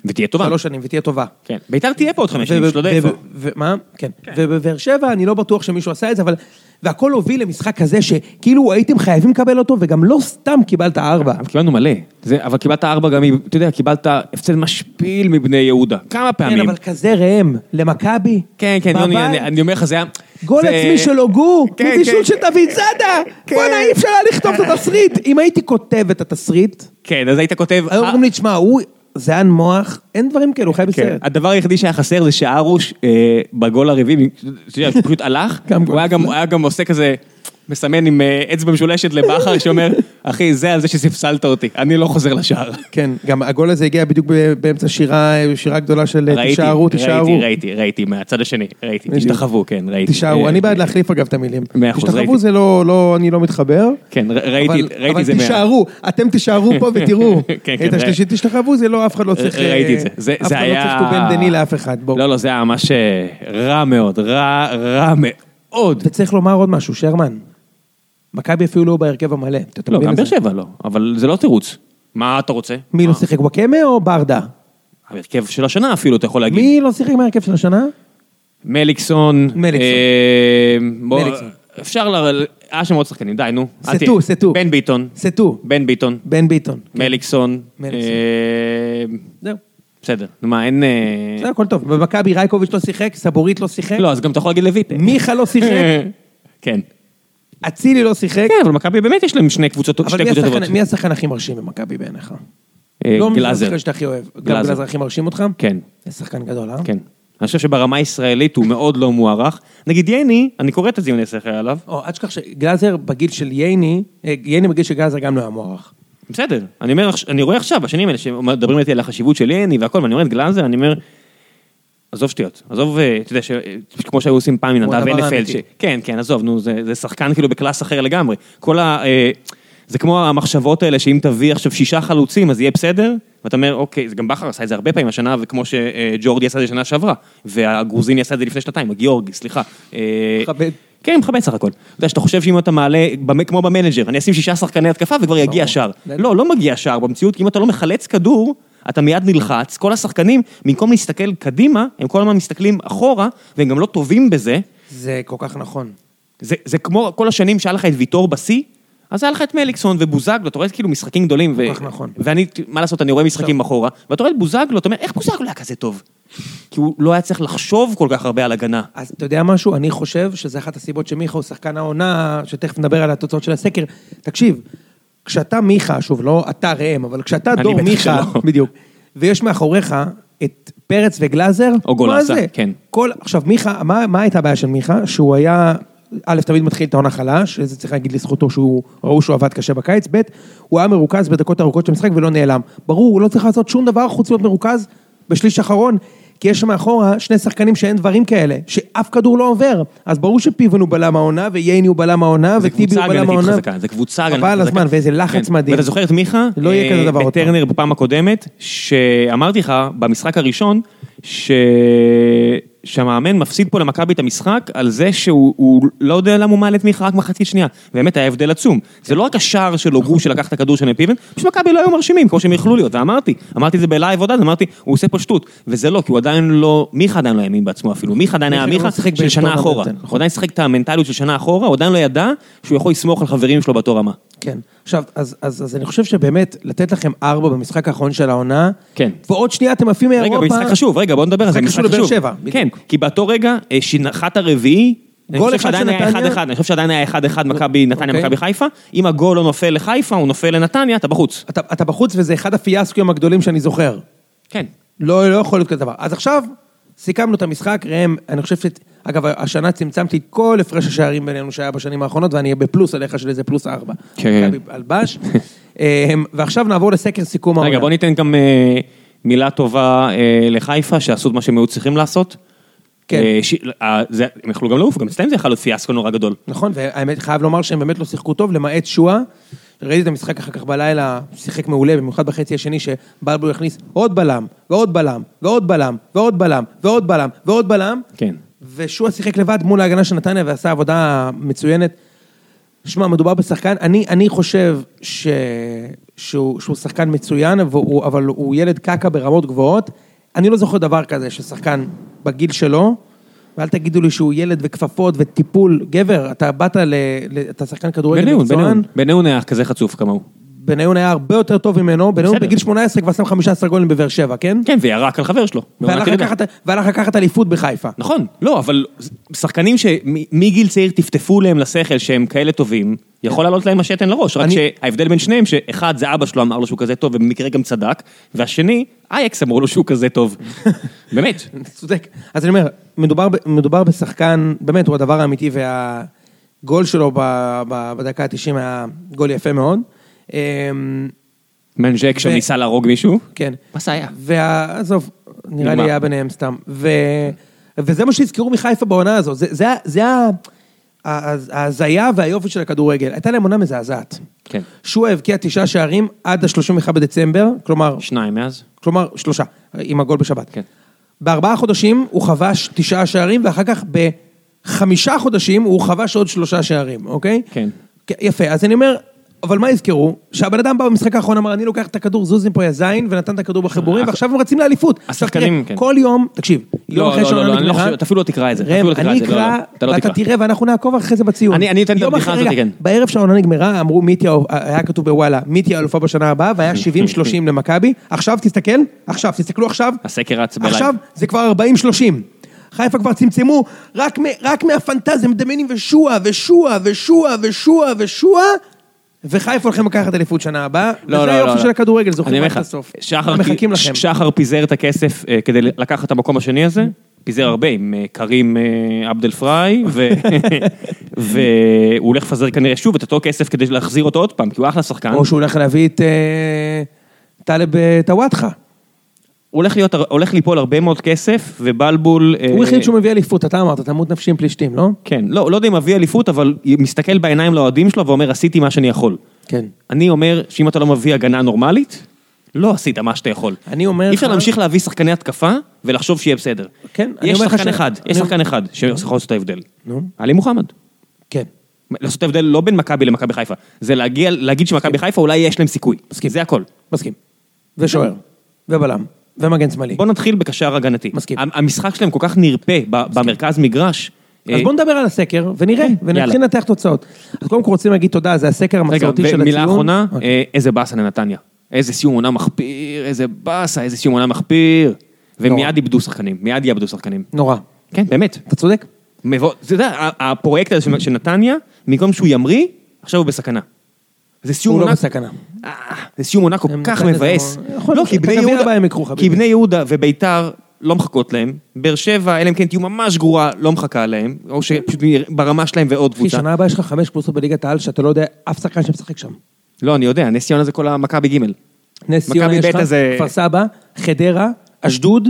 [SPEAKER 1] ותהיה טובה.
[SPEAKER 2] שלוש שנים, ותהיה טובה.
[SPEAKER 1] כן. ביתר תהיה פה עוד חמש אה. שנים,
[SPEAKER 2] ו-
[SPEAKER 1] שאתה לא
[SPEAKER 2] ו-
[SPEAKER 1] יודע איפה.
[SPEAKER 2] ו- ו- מה? כן. ובבאר שבע, אני לא בטוח שמישהו עשה את זה, אבל... והכל הוביל למשחק כזה שכאילו הייתם חייבים לקבל אותו, וגם לא סתם קיבלת ארבע.
[SPEAKER 1] אבל קיבלנו מלא. זה, אבל קיבלת ארבע גם, מ- אתה יודע, קיבלת הפסד משפיל מבני יהודה. כמה פעמים.
[SPEAKER 2] כן, אבל כזה ראם, למכבי.
[SPEAKER 1] כן, כן, יוני,
[SPEAKER 2] בבית.
[SPEAKER 1] אני, אני אומר לך, זה היה...
[SPEAKER 2] גול
[SPEAKER 1] זה-
[SPEAKER 2] עצמי של הוגו,
[SPEAKER 1] כן,
[SPEAKER 2] מבישול
[SPEAKER 1] כן.
[SPEAKER 2] של דוד זאדה. בואנה, אי אפשר היה לכתוב את התסריט. אם הייתי כותב את התסריט,
[SPEAKER 1] כן, אז היית כותב...
[SPEAKER 2] היו אומרים לי, תשמע, הוא זן מוח, אין דברים כאלו, הוא חי
[SPEAKER 1] כן.
[SPEAKER 2] בסרט.
[SPEAKER 1] הדבר היחידי שהיה חסר זה שהרוש אה, בגול הרביעי, אתה יודע, שהוא פשוט הלך,
[SPEAKER 2] <laughs> גם
[SPEAKER 1] הוא היה גם- הוא היה גם עושה כזה, מסמן עם אה, אצבע משולשת לבכר שאומר, אחי, זה על זה שספסלת אותי, אני לא חוזר לשער.
[SPEAKER 2] כן, גם הגול הזה הגיע בדיוק ב- באמצע שירה, שירה גדולה של
[SPEAKER 1] ראיתי,
[SPEAKER 2] תישארו,
[SPEAKER 1] ראיתי,
[SPEAKER 2] תישארו.
[SPEAKER 1] ראיתי, ראיתי, מהצד השני, ראיתי,
[SPEAKER 2] בדיוק.
[SPEAKER 1] תשתחוו, כן, ראיתי.
[SPEAKER 2] תישארו,
[SPEAKER 1] אה,
[SPEAKER 2] אני בעד להחליף אגב את המילים.
[SPEAKER 1] מאה אחוז,
[SPEAKER 2] תשתחוו
[SPEAKER 1] ראיתי.
[SPEAKER 2] זה לא, לא, אני לא מתחבר.
[SPEAKER 1] כן, ר- ראיתי,
[SPEAKER 2] אבל-
[SPEAKER 1] ראיתי זה
[SPEAKER 2] אבל תישארו, אתם תישארו
[SPEAKER 1] <laughs>
[SPEAKER 2] פה ותראו.
[SPEAKER 1] כן,
[SPEAKER 2] את
[SPEAKER 1] כן,
[SPEAKER 2] השלישית תשתחוו, זה לא, אף אחד לא צריך... אה,
[SPEAKER 1] ראיתי את זה. זה,
[SPEAKER 2] אף
[SPEAKER 1] זה
[SPEAKER 2] אחד
[SPEAKER 1] היה...
[SPEAKER 2] לא צריך to bend the knee לאף אחד, בואו.
[SPEAKER 1] לא, לא, זה היה ממש אה, רע מאוד, רע, רע מאוד.
[SPEAKER 2] וצריך לומר עוד משהו, שרמן. מכבי אפילו לא בהרכב המלא. אתה- אתה
[SPEAKER 1] לא,
[SPEAKER 2] מבין
[SPEAKER 1] גם
[SPEAKER 2] את
[SPEAKER 1] באר
[SPEAKER 2] זה?
[SPEAKER 1] שבע אה. לא, אבל זה לא תירוץ. מה אתה רוצה?
[SPEAKER 2] מי לא
[SPEAKER 1] מה?
[SPEAKER 2] שיחק וואקמה או ברדה?
[SPEAKER 1] ההרכב של השנה אפילו, אתה יכול להגיד.
[SPEAKER 2] מי לא שיחק מההרכב של השנה?
[SPEAKER 1] מליקסון.
[SPEAKER 2] מליקסון.
[SPEAKER 1] אה, בוא,
[SPEAKER 2] מליקסון.
[SPEAKER 1] אפשר ל... היה שם עוד שחקנים, די, נו. אל
[SPEAKER 2] סטו,
[SPEAKER 1] תהיה.
[SPEAKER 2] סטו.
[SPEAKER 1] בן ביטון.
[SPEAKER 2] סטו,
[SPEAKER 1] בן ביטון.
[SPEAKER 2] בן ביטון.
[SPEAKER 1] מליקסון.
[SPEAKER 2] מליקסון.
[SPEAKER 1] אה,
[SPEAKER 2] זהו.
[SPEAKER 1] בסדר. נו, מה, אין... אה,
[SPEAKER 2] זה הכל טוב. במכבי רייקוביץ' לא שיחק, סבורית לא שיחק,
[SPEAKER 1] לא, אז גם אתה יכול להגיד לויטה.
[SPEAKER 2] מיכה לא
[SPEAKER 1] <laughs>
[SPEAKER 2] שיחק,
[SPEAKER 1] כן.
[SPEAKER 2] אצילי לא שיחק.
[SPEAKER 1] כן, אבל מכבי באמת יש להם שני קבוצות,
[SPEAKER 2] אבל
[SPEAKER 1] שתי
[SPEAKER 2] מי
[SPEAKER 1] קבוצות
[SPEAKER 2] השחקן-
[SPEAKER 1] טובות.
[SPEAKER 2] מי השחקן הכי מרשים במכבי בעיניך?
[SPEAKER 1] אה,
[SPEAKER 2] לא מי
[SPEAKER 1] גלאזר.
[SPEAKER 2] השחקן שאתה הכי אוהב. גם
[SPEAKER 1] גלאזר.
[SPEAKER 2] גלאזר הכי מרשים אותך?
[SPEAKER 1] כן.
[SPEAKER 2] זה שחקן גדול, אה?
[SPEAKER 1] כן. אני חושב שברמה הישראלית הוא מאוד לא מוערך. נגיד יני, אני קורא את הציוני שכל עליו.
[SPEAKER 2] או, אל תשכח שגלאזר בגיל של ייני, אה, ייני בגיל של גלאזר גם לא היה מוערך.
[SPEAKER 1] בסדר, אני אומר, עכש- אני רואה עכשיו, בשנים האלה שמדברים איתי על החשיבות של יני והכל, ואני אומר את גלאזר, אני אומר, עזוב שטויות, עזוב, אה, אתה יודע, ש- אה, כמו שהיו עושים פעם עם
[SPEAKER 2] הוא
[SPEAKER 1] נדב
[SPEAKER 2] הדבר
[SPEAKER 1] ונפלד,
[SPEAKER 2] האמיתי.
[SPEAKER 1] ש... כן, כן, עזוב, נו, זה, זה שחקן כאילו בקלאס אחר לגמרי. כל ה... אה, זה כמו המחשבות האלה, שאם תביא עכשיו שישה חלוצים, אז יהיה בסדר, ואתה אומר, אוקיי, זה גם בכר עשה את זה הרבה פעמים השנה, וכמו שג'ורדי עשה את זה שנה שעברה, והגרוזיני עשה את זה לפני שנתיים, הגיאורגי, סליחה. אה,
[SPEAKER 2] מכבד.
[SPEAKER 1] כן, מכבד סך הכל. אתה יודע, שאתה חושב שאם אתה מעלה, במ- כמו במנג'ר, אני אשים שישה שחקני התקפה וכבר יגיע
[SPEAKER 2] ברור.
[SPEAKER 1] שער.
[SPEAKER 2] זה-
[SPEAKER 1] לא, לא מגיע שער במציאות, כי אם אתה לא מחלץ כדור, אתה מיד נלחץ. כל השחקנים, במקום להסתכל קדימה, הם כל הזמן מסתכלים אחורה, והם גם לא טובים בזה.
[SPEAKER 2] זה כל כך נכון.
[SPEAKER 1] זה, זה כמו כל השנים שהיה לך את ויטור בשיא, אז היה לך את מליקסון ובוזגלו, אתה רואה כאילו משחקים גדולים. ו...
[SPEAKER 2] כך נכון.
[SPEAKER 1] ואני, מה לעשות, אני רואה משחקים אחורה, ואתה רואה את בוזגלו, אתה אומר, איך בוזגלו היה כזה טוב? כי הוא לא היה צריך לחשוב כל כך הרבה על הגנה.
[SPEAKER 2] אז אתה יודע משהו? אני חושב שזה אחת הסיבות שמיכה הוא שחקן העונה, שתכף נדבר על התוצאות של הסקר. תקשיב, כשאתה מיכה, שוב, לא אתה ראם, אבל כשאתה
[SPEAKER 1] אני
[SPEAKER 2] דור
[SPEAKER 1] בטח
[SPEAKER 2] מיכה,
[SPEAKER 1] שלא.
[SPEAKER 2] בדיוק, ויש מאחוריך את פרץ וגלאזר,
[SPEAKER 1] או גולסה,
[SPEAKER 2] מה זה?
[SPEAKER 1] כן.
[SPEAKER 2] כל, עכשיו, מיכה, מה, מה הייתה הבעיה של מיכה? שהוא היה, א', תמיד מתחיל את העונה חלש, זה צריך להגיד לזכותו שהוא, ראו שהוא עבד קשה בקיץ, ב', הוא היה מרוכז בדקות ארוכות של המשחק ולא נעלם. ברור, הוא לא צריך לעשות שום דבר חוץ מלהיות מרוכז בשליש האחרון, כי יש שם מאחורה שני שחקנים שאין דברים כאלה, שאף כדור לא עובר. אז ברור שפיבן הוא בלם העונה, וייני הוא בלם העונה,
[SPEAKER 1] זה
[SPEAKER 2] וטיבי
[SPEAKER 1] קבוצה
[SPEAKER 2] הוא בלם
[SPEAKER 1] הגנתית
[SPEAKER 2] העונה.
[SPEAKER 1] חזקה, זה קבוצה הגנתית חזקה.
[SPEAKER 2] חבל על הזמן, ואיזה לחץ
[SPEAKER 1] כן.
[SPEAKER 2] מדהים.
[SPEAKER 1] ואתה זוכר את מיכה?
[SPEAKER 2] לא יהיה
[SPEAKER 1] אה,
[SPEAKER 2] כזה דבר עוד פעם.
[SPEAKER 1] בטרנר בפעם הקודמת, שאמרתי לך, במשחק הראשון, ש- שהמאמן מפסיד פה למכבי את המשחק על זה שהוא הוא לא יודע למה הוא מעלה את מיכה רק מחצית שנייה. באמת היה הבדל עצום. זה לא רק השער של הוגו שלקח את הכדור של פיבן, פשוט מכבי לא היו מרשימים, כמו שהם יכלו להיות, ואמרתי, אמרתי את זה בלייב עוד אז, אמרתי, הוא עושה פה שטות. וזה לא, כי הוא עדיין לא, מיכה עדיין לא האמין בעצמו אפילו, מיכה עדיין היה
[SPEAKER 2] מיכה לא
[SPEAKER 1] מיכה
[SPEAKER 2] משחק
[SPEAKER 1] של שנה
[SPEAKER 2] בהיסטוריה
[SPEAKER 1] אחורה.
[SPEAKER 2] בעצם.
[SPEAKER 1] הוא עדיין שיחק את המנטליות של שנה אחורה, הוא עדיין לא ידע שהוא יכול לסמוך על חברים שלו באותו רמה.
[SPEAKER 2] כן. עכשיו, אז, אז, אז אני חושב שבאמת, לתת לכם ארבע במשחק האחרון של העונה,
[SPEAKER 1] כן.
[SPEAKER 2] ועוד שנייה אתם עפים מאירופה.
[SPEAKER 1] רגע, במשחק חשוב, רגע, בוא נדבר על זה, משחק
[SPEAKER 2] משחק חשוב לבאר
[SPEAKER 1] חשוב.
[SPEAKER 2] שבע,
[SPEAKER 1] כן, כי באותו רגע, אה, שינחת הרביעי, אני
[SPEAKER 2] גול
[SPEAKER 1] חושב
[SPEAKER 2] אחד של
[SPEAKER 1] שעדיין היה
[SPEAKER 2] נתניה.
[SPEAKER 1] 1-1, אני חושב שעדיין היה 1-1 מכבי נתניה,
[SPEAKER 2] אוקיי.
[SPEAKER 1] מכבי חיפה. אם הגול לא נופל לחיפה, הוא נופל לנתניה, אתה בחוץ.
[SPEAKER 2] אתה, אתה בחוץ, וזה אחד הפיאסקים הגדולים שאני זוכר.
[SPEAKER 1] כן.
[SPEAKER 2] לא, לא יכול להיות כזה דבר. אז עכשיו, סיכמנו את המשחק, ראם, אני חושב ש... אגב, השנה צמצמתי את כל הפרש השערים בינינו שהיה בשנים האחרונות, ואני אהיה בפלוס עליך של איזה פלוס ארבע.
[SPEAKER 1] כן.
[SPEAKER 2] מכבי על בש. <laughs> אמ, ועכשיו נעבור לסקר סיכום העונה.
[SPEAKER 1] רגע, בוא ניתן גם אה, מילה טובה אה, לחיפה, שעשו את מה שהם היו צריכים לעשות.
[SPEAKER 2] כן.
[SPEAKER 1] אה, ש- אה, זה- הם יכלו גם לעוף, גם אצלם זה יכול להיות פיאסקו נורא גדול.
[SPEAKER 2] נכון, והאמת, חייב לומר שהם באמת לא שיחקו טוב, למעט שואה. ראיתי את המשחק אחר כך בלילה, שיחק מעולה, במיוחד בחצי השני, שבלבול הכניס עוד בלם, ועוד בלם, ועוד בלם, ועוד בלם, ועוד בלם, ועוד בלם.
[SPEAKER 1] כן.
[SPEAKER 2] ושועה שיחק לבד מול ההגנה של נתניה ועשה עבודה מצוינת. שמע, מדובר בשחקן, אני, אני חושב ש... שהוא, שהוא שחקן מצוין, והוא, אבל הוא ילד קקע ברמות גבוהות. אני לא זוכר דבר כזה ששחקן בגיל שלו, ואל תגידו לי שהוא ילד וכפפות וטיפול. גבר, אתה באת ל... ל אתה שחקן כדורגל
[SPEAKER 1] בניון,
[SPEAKER 2] מקצוען,
[SPEAKER 1] בניון. בניון היה כזה חצוף כמוהו.
[SPEAKER 2] בניון היה הרבה יותר טוב ממנו, בניון
[SPEAKER 1] בסדר.
[SPEAKER 2] בגיל 18 כבר שם 15 גולים בבאר שבע, כן?
[SPEAKER 1] כן, וירק על חבר שלו.
[SPEAKER 2] והלך
[SPEAKER 1] בעונת ירידה.
[SPEAKER 2] לקחת, והלך לקחת אליפות בחיפה.
[SPEAKER 1] נכון, לא, אבל שחקנים שמגיל צעיר טפטפו להם לשכל שהם כאלה טובים, יכול לעלות להם השתן לראש, רק
[SPEAKER 2] אני-
[SPEAKER 1] שההבדל בין שניהם, שאחד זה אבא שלו אמר לו שהוא כזה טוב, ובמקרה גם צדק, והשני, אייקס אמרו לו שהוא כזה טוב. <laughs> באמת.
[SPEAKER 2] <laughs> צודק. אז אני אומר, מדובר, ב- מדובר בשחקן, באמת, הוא הדבר האמיתי וה... גול שלו ב- ב- בדקה ה-90 היה גול יפה מאוד. אמ,
[SPEAKER 1] מנג'ק שם
[SPEAKER 2] ו-
[SPEAKER 1] ניסה להרוג מישהו?
[SPEAKER 2] כן.
[SPEAKER 1] מה זה היה?
[SPEAKER 2] וה- עזוב, נראה לי
[SPEAKER 1] נגמר.
[SPEAKER 2] היה ביניהם סתם. ו... וזה מה שהזכרו מחיפה בעונה הזו, זה, זה, ה- זה ה- ה- ההזיה והיופי של הכדורגל. הייתה להם עונה מזעזעת.
[SPEAKER 1] כן.
[SPEAKER 2] שועה הבקיע תשעה שערים עד ה-31 בדצמבר, כלומר,
[SPEAKER 1] שניים מאז.
[SPEAKER 2] כלומר שלושה, עם הגול בשבת.
[SPEAKER 1] כן.
[SPEAKER 2] בארבעה חודשים הוא חבש תשעה שערים, ואחר כך בחמישה חודשים הוא חבש עוד שלושה שערים, אוקיי?
[SPEAKER 1] כן.
[SPEAKER 2] יפה, אז אני אומר, אבל מה יזכרו? שהבן אדם בא במשחק האחרון, אמר, אני לוקח את הכדור זוז מפה, יא זין, ונתן את הכדור בחיבורים,
[SPEAKER 1] הש-
[SPEAKER 2] ועכשיו הם רצים לאליפות.
[SPEAKER 1] השחקנים,
[SPEAKER 2] עכשיו, תראה,
[SPEAKER 1] אה, כן.
[SPEAKER 2] כל יום, תקשיב, יום
[SPEAKER 1] לא,
[SPEAKER 2] אחרי
[SPEAKER 1] לא, לא,
[SPEAKER 2] שהעונה
[SPEAKER 1] לא, אני לא
[SPEAKER 2] נגמרה,
[SPEAKER 1] חושב, אתה אפילו לא תקרא את זה.
[SPEAKER 2] ראם,
[SPEAKER 1] אפילו לא תקרא
[SPEAKER 2] אני
[SPEAKER 1] את זה, לא, לא,
[SPEAKER 2] אקרא,
[SPEAKER 1] אתה לא
[SPEAKER 2] ואתה
[SPEAKER 1] תקרא.
[SPEAKER 2] תראה, ואנחנו נעקוב אחרי זה בציון.
[SPEAKER 1] אני- אני אתן את
[SPEAKER 2] יום
[SPEAKER 1] הבדיחה
[SPEAKER 2] אחרי-
[SPEAKER 1] הזאת,
[SPEAKER 2] רגע,
[SPEAKER 1] כן.
[SPEAKER 2] בערב שהעונה נגמרה, אמרו מי תהיה, האל- היה כתוב בוואלה, מי תהיה האלופה בשנה הבאה, והיה
[SPEAKER 1] <laughs>
[SPEAKER 2] 70-30 למכבי. עכשיו תסתכל, עכשיו, תסתכלו עכשיו.
[SPEAKER 1] הסקר רץ בלייב.
[SPEAKER 2] עכשיו זה כבר 40-30. חיפה כבר צמצמו, רק, מ, רק מהפנטזיה, מדמיינים ושועה, ושועה, ושועה, ושועה, ושועה, וחיפה הולכים לקחת אליפות שנה הבאה.
[SPEAKER 1] לא,
[SPEAKER 2] וזה
[SPEAKER 1] לא,
[SPEAKER 2] היופי
[SPEAKER 1] לא, לא.
[SPEAKER 2] של הכדורגל,
[SPEAKER 1] אני
[SPEAKER 2] זוכרים
[SPEAKER 1] אומר
[SPEAKER 2] עד
[SPEAKER 1] לך,
[SPEAKER 2] הסוף.
[SPEAKER 1] שחר-
[SPEAKER 2] מחכים
[SPEAKER 1] ש-
[SPEAKER 2] לכם.
[SPEAKER 1] שחר פיזר את הכסף אה, כדי לקחת את המקום השני הזה, פיזר הרבה עם אה, קרים אה, עבד אל פריי,
[SPEAKER 2] <laughs>
[SPEAKER 1] ו- והוא הולך לפזר כנראה שוב את אותו כסף כדי להחזיר אותו עוד פעם, כי הוא אחלה שחקן.
[SPEAKER 2] או שהוא הולך להביא את אה, טלב אה, טוואטחה.
[SPEAKER 1] הוא הולך להיות- הולך ליפול הרבה מאוד כסף, ובלבול... אה,
[SPEAKER 2] הוא החליט שהוא מביא אליפות, אתה אמרת, תמות נפשי עם פלישתים, לא?
[SPEAKER 1] כן, לא, לא יודע אם מביא אליפות, אבל מסתכל בעיניים לאוהדים שלו ואומר, עשיתי מה שאני יכול.
[SPEAKER 2] כן.
[SPEAKER 1] אני אומר שאם אתה לא מביא הגנה נורמלית, לא עשית מה שאתה יכול.
[SPEAKER 2] אני אומר
[SPEAKER 1] אי אפשר
[SPEAKER 2] לך-
[SPEAKER 1] להמשיך להביא שחקני התקפה ולחשוב שיהיה בסדר.
[SPEAKER 2] כן, אני
[SPEAKER 1] יש
[SPEAKER 2] אומר לך
[SPEAKER 1] שחקן
[SPEAKER 2] ש-
[SPEAKER 1] אחד, יש
[SPEAKER 2] אני-
[SPEAKER 1] שחקן אחד שיכול לעשות את ההבדל.
[SPEAKER 2] נו.
[SPEAKER 1] עלי מוחמד.
[SPEAKER 2] כן.
[SPEAKER 1] לעשות את ההבדל לא בין מכבי למכבי חיפה, זה להגיע, להגיד שמכבי חיפה אולי יש להם סיכוי.
[SPEAKER 2] מסכים.
[SPEAKER 1] זה הכל.
[SPEAKER 2] מסכים. ושוער. ובלם. ומגן שמאלי.
[SPEAKER 1] בוא נתחיל בקשר הגנתי.
[SPEAKER 2] מסכים.
[SPEAKER 1] ה- המשחק שלהם כל כך נרפה ב- במרכז מגרש.
[SPEAKER 2] אז
[SPEAKER 1] אה,
[SPEAKER 2] בואו נדבר על הסקר, ונראה, ונתחיל
[SPEAKER 1] יאללה.
[SPEAKER 2] לנתח תוצאות. אז קודם כל רוצים להגיד תודה, זה הסקר
[SPEAKER 1] רגע,
[SPEAKER 2] המסורתי של הציון.
[SPEAKER 1] ומילה אחרונה,
[SPEAKER 2] אוקיי.
[SPEAKER 1] אה, איזה באסה לנתניה. איזה סיום עונה מחפיר, איזה באסה, איזה סיום עונה מחפיר.
[SPEAKER 2] לא.
[SPEAKER 1] ומיד איבדו שחקנים, מיד יאבדו שחקנים.
[SPEAKER 2] נורא.
[SPEAKER 1] כן, באמת.
[SPEAKER 2] אתה צודק.
[SPEAKER 1] מבוא... אתה יודע, ה- הפרויקט הזה של- של נתניה, במקום שהוא ימריא, עכשיו הוא בסכנה. זה סיום
[SPEAKER 2] הוא
[SPEAKER 1] עונה...
[SPEAKER 2] לא בסכנה.
[SPEAKER 1] אה, זה סיום עונה כל
[SPEAKER 2] הם
[SPEAKER 1] כך
[SPEAKER 2] נתניה זה
[SPEAKER 1] מבאס.
[SPEAKER 2] לא- יכול
[SPEAKER 1] לא,
[SPEAKER 2] להיות
[SPEAKER 1] כי
[SPEAKER 2] שאת
[SPEAKER 1] בני
[SPEAKER 2] הגביע הבא
[SPEAKER 1] יהודה...
[SPEAKER 2] הם יקחו, חביבי.
[SPEAKER 1] כי בני יהודה וביתר לא מחכות להם. באר שבע, אלא אם כן תהיו ממש גרועה, לא מחכה להם. או שפשוט ברמה שלהם ועוד
[SPEAKER 2] כי
[SPEAKER 1] קבוצה.
[SPEAKER 2] שנה הבאה יש לך חמש קבוצות בליגת העל שאתה לא יודע אף שחקן שמשחק שם.
[SPEAKER 1] לא, אני יודע, נס ציונה זה כל המכבי ג'.
[SPEAKER 2] נס ציונה
[SPEAKER 1] מכבי
[SPEAKER 2] יש לך,
[SPEAKER 1] בית"ר זה-
[SPEAKER 2] כפר סבא, חדרה, אשדוד.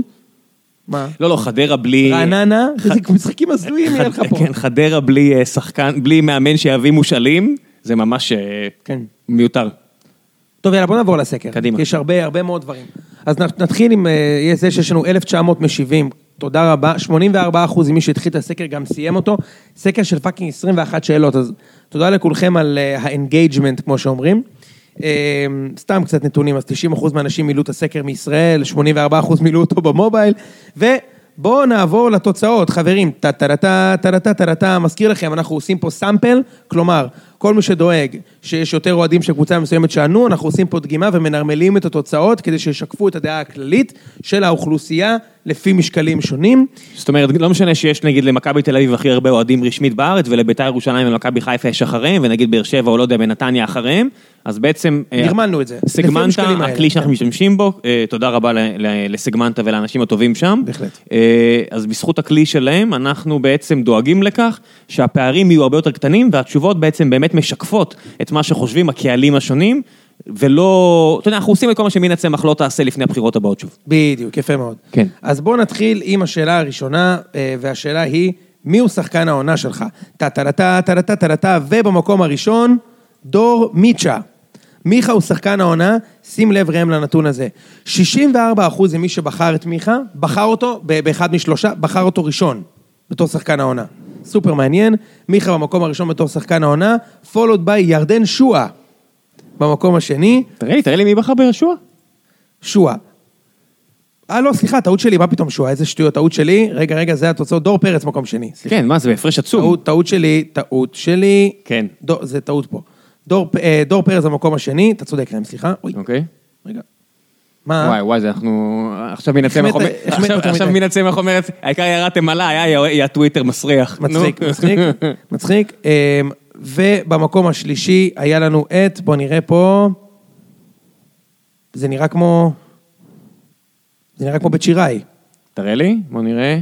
[SPEAKER 2] מה?
[SPEAKER 1] לא, לא, חדרה בלי...
[SPEAKER 2] <laughs> רעננה,
[SPEAKER 1] ח-
[SPEAKER 2] איזה משחקים הזויים יהיה לך
[SPEAKER 1] ח-
[SPEAKER 2] פה.
[SPEAKER 1] כן, חדרה בלי אה, שחקן, בלי מאמן שיביא מושאלים, זה ממש אה,
[SPEAKER 2] כן.
[SPEAKER 1] מיותר.
[SPEAKER 2] טוב, יאללה, בוא נעבור לסקר.
[SPEAKER 1] קדימה.
[SPEAKER 2] כי יש הרבה, הרבה מאוד דברים. אז נ- נתחיל עם אה, זה שיש לנו 1,900 משיבים. תודה רבה. 84 אחוז ממי שהתחיל את הסקר גם סיים אותו. סקר של פאקינג 21 שאלות, אז תודה לכולכם על אה, האנגייג'מנט, כמו שאומרים. אה, סתם קצת נתונים, אז 90 אחוז מהאנשים מילאו את הסקר מישראל, 84 אחוז מילאו אותו במובייל, ובואו נעבור לתוצאות, חברים. טה-טה-טה, טה-טה-טה, טה-טה. מזכיר לכם, אנחנו עושים פה סאמפל, כלומר, כל מי שדואג שיש יותר אוהדים של קבוצה מסוימת שענו, אנחנו עושים פה דגימה ומנרמלים את התוצאות כדי שישקפו את הדעה הכללית של האוכלוסייה לפי משקלים שונים.
[SPEAKER 1] זאת אומרת, לא משנה שיש נגיד למכבי תל אביב הכי הרבה אוהדים רשמית בארץ, ולביתר ירושלים ולמכבי חיפה יש אחריהם, ונגיד באר שבע או לא יודע, בנתניה אחריהם, אז בעצם... אה,
[SPEAKER 2] נרמלנו את זה, לפי
[SPEAKER 1] סגמנטה,
[SPEAKER 2] המשקלים האלה,
[SPEAKER 1] הכלי שאנחנו
[SPEAKER 2] כן.
[SPEAKER 1] משתמשים בו, אה, תודה רבה ל- ל- לסגמנטה ולאנשים הטובים שם.
[SPEAKER 2] בהחלט.
[SPEAKER 1] אה, אז בזכות הכלי שלהם, אנחנו בעצם דואגים לכך שהפערים יהיו הרבה יותר קטנים, והתשובות בעצם באמת משקפות את מה שחושבים הקהלים השונים, ולא... אתה יודע, אנחנו עושים את כל מה שמין הצמח לא תעשה לפני הבחירות הבאות שוב.
[SPEAKER 2] בדיוק, יפה מאוד.
[SPEAKER 1] כן.
[SPEAKER 2] אז בואו נתחיל עם השאלה הראשונה, אה, והשאלה היא, מי הוא שחקן העונה שלך? טה-טה-טה, טה-טה-טה, טה-טה, ובמקום הראשון, דור מיצ'ה. מיכה הוא שחקן העונה, שים לב ראם לנתון הזה. 64% ממי שבחר את מיכה, בחר אותו ב- באחד משלושה, בחר אותו ראשון, בתור שחקן העונה. סופר מעניין, מיכה במקום הראשון בתור שחקן העונה, followed by ירדן שואה. במקום השני,
[SPEAKER 1] תראה לי, תראה לי מי בחר ביהושע.
[SPEAKER 2] שועה. אה, לא, סליחה, טעות שלי, מה פתאום שועה? איזה שטויות, טעות שלי. רגע, רגע, זה התוצאות. דור פרץ מקום שני. סליחה.
[SPEAKER 1] כן, מה זה, בהפרש עצום.
[SPEAKER 2] טעות, טעות שלי, טעות שלי.
[SPEAKER 1] כן.
[SPEAKER 2] דור, זה טעות פה. דור, פ- אה, דור פרץ במקום השני, אתה צודק ראם, סליחה. אוי,
[SPEAKER 1] אוקיי.
[SPEAKER 2] רגע. מה?
[SPEAKER 1] וואי, וואי, זה אנחנו... עכשיו מן הצמח
[SPEAKER 2] החמאת-
[SPEAKER 1] אומרת...
[SPEAKER 2] החמאת
[SPEAKER 1] עכשיו-
[SPEAKER 2] יותר
[SPEAKER 1] עכשיו
[SPEAKER 2] מדי.
[SPEAKER 1] מן הצמח אומרת, העיקר ירדתם עליי, היה- היה טוויטר מסריח. נו.
[SPEAKER 2] מצחיק,
[SPEAKER 1] <laughs>
[SPEAKER 2] מצחיק, מצחיק. אמ, ובמקום השלישי היה לנו את, בואו נראה פה. זה נראה כמו... זה נראה כמו בית שיראי.
[SPEAKER 1] תראה לי, בוא נראה.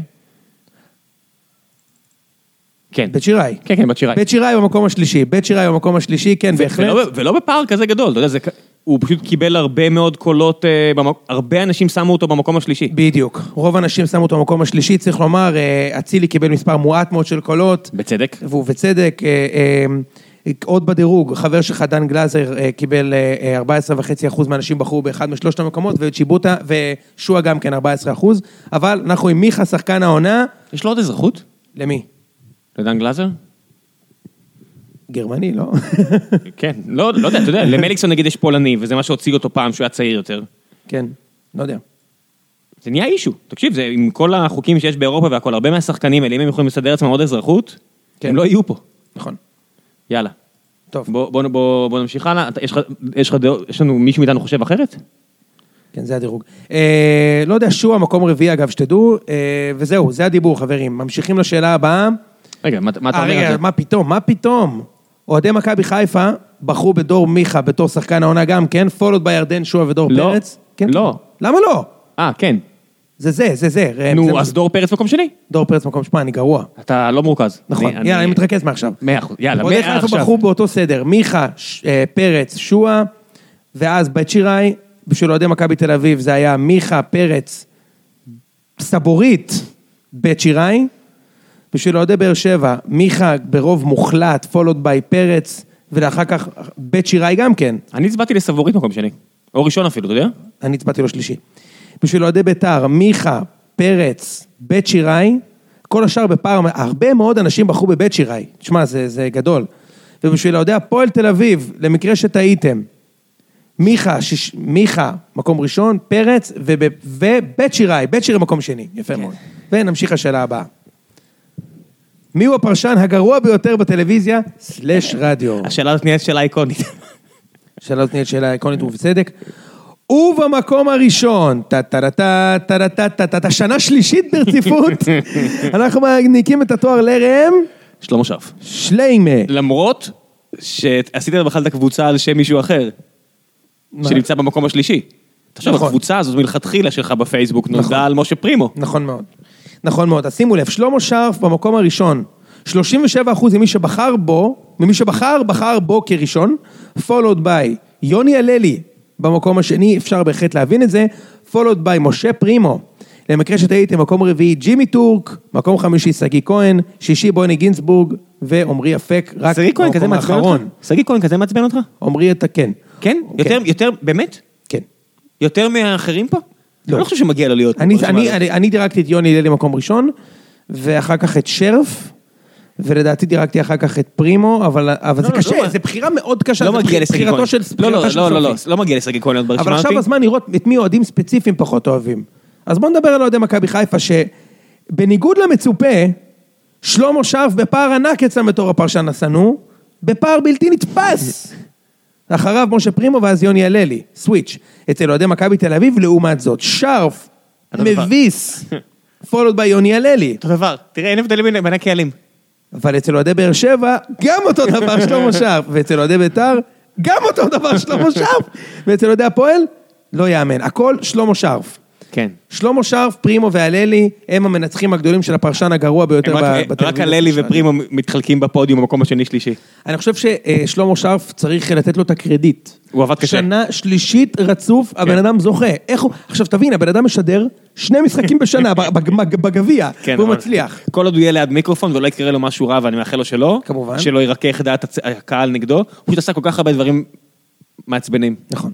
[SPEAKER 1] כן.
[SPEAKER 2] בית שיראי.
[SPEAKER 1] כן, כן, בת שיראי. לא-
[SPEAKER 2] בית שיראי במקום השלישי, בית שיראי במקום השלישי, כן, בהחלט.
[SPEAKER 1] ולא, ולא בפער כזה גדול, אתה יודע, זה, כ- הוא פשוט קיבל הרבה מאוד קולות, אה, במק... הרבה אנשים שמו אותו במקום השלישי.
[SPEAKER 2] בדיוק. רוב האנשים שמו אותו במקום השלישי, צריך לומר, אה, אצילי קיבל מספר מועט מאוד של קולות,
[SPEAKER 1] בצדק.
[SPEAKER 2] ובצדק, אה, אה, עוד בדירוג, חבר שלך, דן גלאזר, אה, קיבל אה, אה, 14.5% מהאנשים בחרו באחד משלושת המקומות, וצ'יבוטה ושועה גם כן 14%, אבל אנחנו עם מיכה, שחקן העונה,
[SPEAKER 1] יש לו עוד אזרחות?
[SPEAKER 2] למי?
[SPEAKER 1] לדן גלאזר?
[SPEAKER 2] גרמני, לא? <laughs>
[SPEAKER 1] כן, לא, לא יודע, אתה יודע, למליקסון נגיד יש פולני, וזה מה שהוציא אותו פעם, שהוא היה צעיר יותר.
[SPEAKER 2] כן, לא יודע.
[SPEAKER 1] זה נהיה אישו. תקשיב, זה עם כל החוקים שיש באירופה והכל, הרבה מהשחקנים האלה, אם הם יכולים לסדר לעצמם עוד אזרחות,
[SPEAKER 2] כן.
[SPEAKER 1] הם לא יהיו פה.
[SPEAKER 2] נכון.
[SPEAKER 1] יאללה.
[SPEAKER 2] טוב.
[SPEAKER 1] בוא, בוא, בוא, בוא נמשיך הלאה. אתה- יש לך- יש לך דעות, יש לנו מישהו מאיתנו חושב אחרת?
[SPEAKER 2] כן, זה הדירוג. אה, לא יודע, שועה, מקום רביעי, אגב, שתדעו, אה, וזהו, זה הדיבור, חברים. ממשיכים לשאלה הבאה.
[SPEAKER 1] רגע, מה, מה אתה
[SPEAKER 2] אה,
[SPEAKER 1] אומר על
[SPEAKER 2] רגע,
[SPEAKER 1] זה?
[SPEAKER 2] מה פתאום? מה פתאום? אוהדי מכבי חיפה בחרו בדור מיכה בתור שחקן העונה גם כן, פולוד בירדן, שועה ודור
[SPEAKER 1] לא.
[SPEAKER 2] פרץ. כן,
[SPEAKER 1] לא.
[SPEAKER 2] כן. למה לא?
[SPEAKER 1] אה, כן.
[SPEAKER 2] זה זה, זה זה. ראם, זה
[SPEAKER 1] נו,
[SPEAKER 2] מה-
[SPEAKER 1] אז דור פרץ מקום שני?
[SPEAKER 2] דור פרץ מקום שמע, אני גרוע.
[SPEAKER 1] אתה לא מורכז.
[SPEAKER 2] נכון.
[SPEAKER 1] אני-
[SPEAKER 2] יאללה, אני מתרכז מעכשיו.
[SPEAKER 1] מאה אחוז, יאללה,
[SPEAKER 2] אוהדי
[SPEAKER 1] מאה
[SPEAKER 2] חיפה
[SPEAKER 1] עכשיו.
[SPEAKER 2] בחרו באותו סדר, מיכה, ש- אה, פרץ, שועה, ואז בית שיראי, בשביל אוהדי מכבי תל אביב זה היה מיכה, פרץ, סבורית, בית שיראי, בשביל אוהדי באר שבע, מיכה ברוב מוחלט, followed by פרץ, ולאחר כך בית שיראי גם כן,
[SPEAKER 1] אני הצבעתי לסבורית מקום שני. או ראשון אפילו, אתה יודע?
[SPEAKER 2] אני הצבעתי לו שלישי. בשביל אוהדי בית"ר, מיכה, פרץ, בית שיראי, כל השאר בפער, הרבה מאוד אנשים בחרו בבית שיראי. תשמע, זה, זה גדול. ובשביל אוהדי הפועל תל אביב, למקרה שטעיתם, מיכה, שיש, מיכה, מקום ראשון, פרץ וב, ובית שיראי, בית שיראי מקום שני. יפה מאוד. ונמשיך לשאלה הבאה. מי הוא הפרשן הגרוע ביותר בטלוויזיה, סלאש רדיו?
[SPEAKER 1] השאלה הזאת נהיית שאלה איקונית.
[SPEAKER 2] שאלה זאת נהיית שאלה עקרונית ובצדק. ובמקום הראשון, טה-טה-טה-טה-טה-טה-טה, שנה שלישית ברציפות, אנחנו מעניקים את התואר לראם
[SPEAKER 1] שלמה שרף.
[SPEAKER 2] שליימה.
[SPEAKER 1] למרות שעשיתם בכלל את הקבוצה על שם מישהו אחר,
[SPEAKER 2] מה?
[SPEAKER 1] שנמצא במקום השלישי. תחשוב,
[SPEAKER 2] נכון.
[SPEAKER 1] הקבוצה הזאת מלכתחילה שלך בפייסבוק
[SPEAKER 2] נכון.
[SPEAKER 1] נולדה על משה פרימו.
[SPEAKER 2] נכון מאוד. נכון מאוד, אז שימו לב, שלמה שרף במקום הראשון, 37% ממי שבחר בו, ממי שבחר, בחר בו כראשון, followed by יוני הללי במקום השני, אפשר בהחלט להבין את זה, followed by משה פרימו. למקרה שטעיתם, מקום רביעי ג'ימי טורק, מקום חמישי שגיא כהן, שישי בוני גינצבורג ועמרי אפק, רק
[SPEAKER 1] שגיא כהן כזה
[SPEAKER 2] במקום
[SPEAKER 1] מעצבן
[SPEAKER 2] האחרון. אוקיי.
[SPEAKER 1] אותך? שגיא כהן כזה מעצבן אותך?
[SPEAKER 2] עמרי יתקן.
[SPEAKER 1] כן? יותר, יותר, באמת?
[SPEAKER 2] כן.
[SPEAKER 1] יותר מהאחרים פה?
[SPEAKER 2] לא.
[SPEAKER 1] אני לא חושב שמגיע לו להיות.
[SPEAKER 2] אני,
[SPEAKER 1] ברשימה
[SPEAKER 2] אני,
[SPEAKER 1] הזאת.
[SPEAKER 2] אני, אני דירקתי את יוני הלל למקום ראשון, ואחר כך את שרף, ולדעתי דירקתי אחר כך את פרימו, אבל, אבל
[SPEAKER 1] לא,
[SPEAKER 2] זה
[SPEAKER 1] לא,
[SPEAKER 2] קשה,
[SPEAKER 1] לא.
[SPEAKER 2] זו בחירה מאוד קשה,
[SPEAKER 1] לא
[SPEAKER 2] זה
[SPEAKER 1] מגיע
[SPEAKER 2] בח-
[SPEAKER 1] לשגיא
[SPEAKER 2] בחירתו
[SPEAKER 1] כהן.
[SPEAKER 2] של
[SPEAKER 1] לא, לא,
[SPEAKER 2] בחירתה של
[SPEAKER 1] לא, לא,
[SPEAKER 2] סופי.
[SPEAKER 1] לא, לא מגיע לשגיא כהן להיות
[SPEAKER 2] אבל
[SPEAKER 1] ברשימה הזאת.
[SPEAKER 2] עכשיו הזמן לראות את מי אוהדים ספציפיים פחות אוהבים. אז בואו נדבר על אוהדי מכבי חיפה, שבניגוד למצופה, שלמה שרף בפער ענק יצא בתור הפרשן השנוא, בפער בלתי נתפס. אחריו משה פרימו ואז יוני הללי, סוויץ'. אצל אוהדי מכבי תל אביב, לעומת זאת, שרף,
[SPEAKER 1] אתה דבר.
[SPEAKER 2] מביס, followed by יוני הללי.
[SPEAKER 1] אותו דבר, תראה, אין הבדלים בין- בין הקהלים.
[SPEAKER 2] אבל אצל אוהדי באר שבע, גם אותו דבר שלמה שרף, ואצל אוהדי בית"ר, גם אותו דבר שלמה שרף, ואצל אוהדי הפועל, לא יאמן, הכל שלמה שרף.
[SPEAKER 1] כן.
[SPEAKER 2] שלמה שרף, פרימו והללי, הם המנצחים הגדולים של הפרשן הגרוע ביותר
[SPEAKER 1] הם רק-
[SPEAKER 2] ב-
[SPEAKER 1] רק
[SPEAKER 2] בטלוויזיה.
[SPEAKER 1] הללי
[SPEAKER 2] שלנו.
[SPEAKER 1] ופרימו מתחלקים בפודיום במקום השני שלישי.
[SPEAKER 2] אני חושב ששלמה שרף צריך לתת לו את הקרדיט.
[SPEAKER 1] הוא עבד קשה. כן.
[SPEAKER 2] שנה שלישית רצוף, הבן אדם זוכה. איך הוא... עכשיו תבין, הבן אדם משדר שני משחקים
[SPEAKER 1] <laughs>
[SPEAKER 2] בשנה בג- בג- בגביע,
[SPEAKER 1] כן,
[SPEAKER 2] והוא
[SPEAKER 1] אבל-
[SPEAKER 2] מצליח.
[SPEAKER 1] כל עוד הוא יהיה ליד מיקרופון ולא יקרה לו משהו רע, ואני מאחל לו שלא.
[SPEAKER 2] כמובן.
[SPEAKER 1] שלא ירכך דעת הצ- הקהל נגדו. הוא פשוט עשה כל כך הרבה דברים מעצבנים.
[SPEAKER 2] נכון.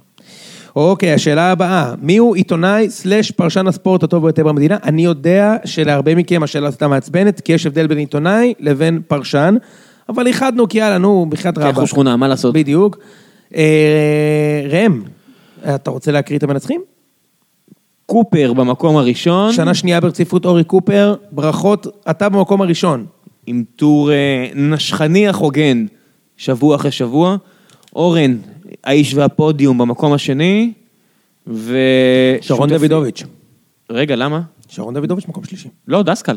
[SPEAKER 2] אוקיי, השאלה הבאה, מי הוא עיתונאי סלאש פרשן הספורט הטוב ביותר במדינה? אני יודע שלהרבה מכם השאלה הזאת מעצבנת, כי יש הבדל בין עיתונאי לבין פרשן, אבל איחדנו כי יאללה, נו, בחייאת רבאק.
[SPEAKER 1] אנחנו שכונה, כן, מה לעשות?
[SPEAKER 2] בדיוק. אה, ראם, אתה רוצה להקריא את המנצחים?
[SPEAKER 1] קופר במקום הראשון,
[SPEAKER 2] שנה שנייה ברציפות אורי קופר, ברכות, אתה במקום הראשון.
[SPEAKER 1] עם טור אה, נשכני אך הוגן, שבוע אחרי שבוע. אורן, האיש והפודיום במקום השני, ו...
[SPEAKER 2] שרון
[SPEAKER 1] שותפי-
[SPEAKER 2] דוידוביץ'.
[SPEAKER 1] רגע, למה?
[SPEAKER 2] שרון דוידוביץ' מקום שלישי.
[SPEAKER 1] לא, דסקל.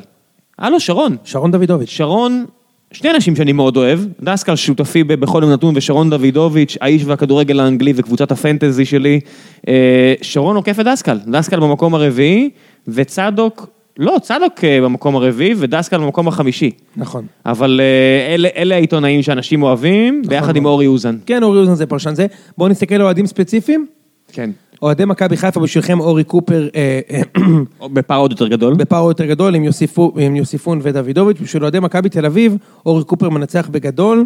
[SPEAKER 1] אה, לא, שרון.
[SPEAKER 2] שרון דוידוביץ'.
[SPEAKER 1] שרון, שני אנשים שאני מאוד אוהב, דסקל שותפי ב- בכל יום נתון ושרון דוידוביץ', האיש והכדורגל האנגלי וקבוצת הפנטזי שלי. אה, שרון עוקף את דסקל, דסקל במקום הרביעי, וצדוק לא, צדוק אה, במקום הרביעי ודסקל במקום החמישי.
[SPEAKER 2] נכון.
[SPEAKER 1] אבל אה, אלה, אלה העיתונאים שאנשים אוהבים, ביחד עם אורי אוזן.
[SPEAKER 2] כן, אורי אוזן זה פרשן זה. בואו נסתכל על אוהדים ספציפיים.
[SPEAKER 1] כן.
[SPEAKER 2] אוהדי מכבי חיפה בשבילכם אורי קופר אה, אה, <coughs>
[SPEAKER 1] בפער עוד יותר גדול.
[SPEAKER 2] בפער עוד יותר גדול עם, יוסיפו, עם יוסיפון ודוידוביץ', בשביל אוהדי מכבי תל אביב, אורי קופר מנצח בגדול,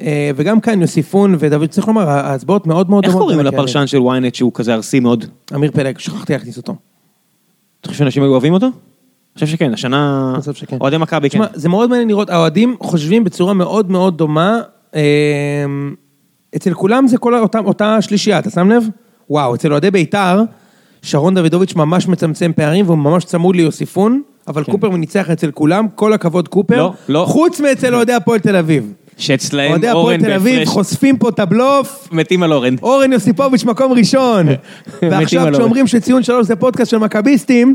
[SPEAKER 2] אה, וגם כאן יוסיפון ודויד, צריך לומר, ההצבעות מאוד מאוד
[SPEAKER 1] איך
[SPEAKER 2] דומות
[SPEAKER 1] קוראים
[SPEAKER 2] בין
[SPEAKER 1] לפרשן של ynet שהוא כזה ארסי מאוד?
[SPEAKER 2] הקרן. אמיר פלג, שכחתי להכניס אותו.
[SPEAKER 1] אתה חושב שאנשים היו אוהבים אותו? אני חושב שכן, השנה...
[SPEAKER 2] אני חושב שכן.
[SPEAKER 1] אוהדי מכבי, כן.
[SPEAKER 2] תשמע, זה מאוד מעניין לראות, האוהדים חושבים בצורה מאוד מאוד דומה, אה, אצל כולם זה כל אותה, אותה שלישייה, אתה שם לב? וואו, אצל אוהדי בית"ר, שרון דוידוביץ' ממש מצמצם פערים והוא ממש צמוד ליוסיפון, אבל קופר ניצח אצל כולם, כל הכבוד קופר,
[SPEAKER 1] כן. לא, לא.
[SPEAKER 2] חוץ מאצל אוהדי הפועל תל אביב.
[SPEAKER 1] שאצלהם
[SPEAKER 2] אוהדי הפועל
[SPEAKER 1] אורן
[SPEAKER 2] תל אביב
[SPEAKER 1] בהפרש
[SPEAKER 2] חושפים פה את הבלוף.
[SPEAKER 1] מתים על אורן.
[SPEAKER 2] אורן יוסיפוביץ' מקום ראשון, ועכשיו
[SPEAKER 1] עליו.
[SPEAKER 2] כשאומרים שציון שלוש זה פודקאסט של מכביסטים,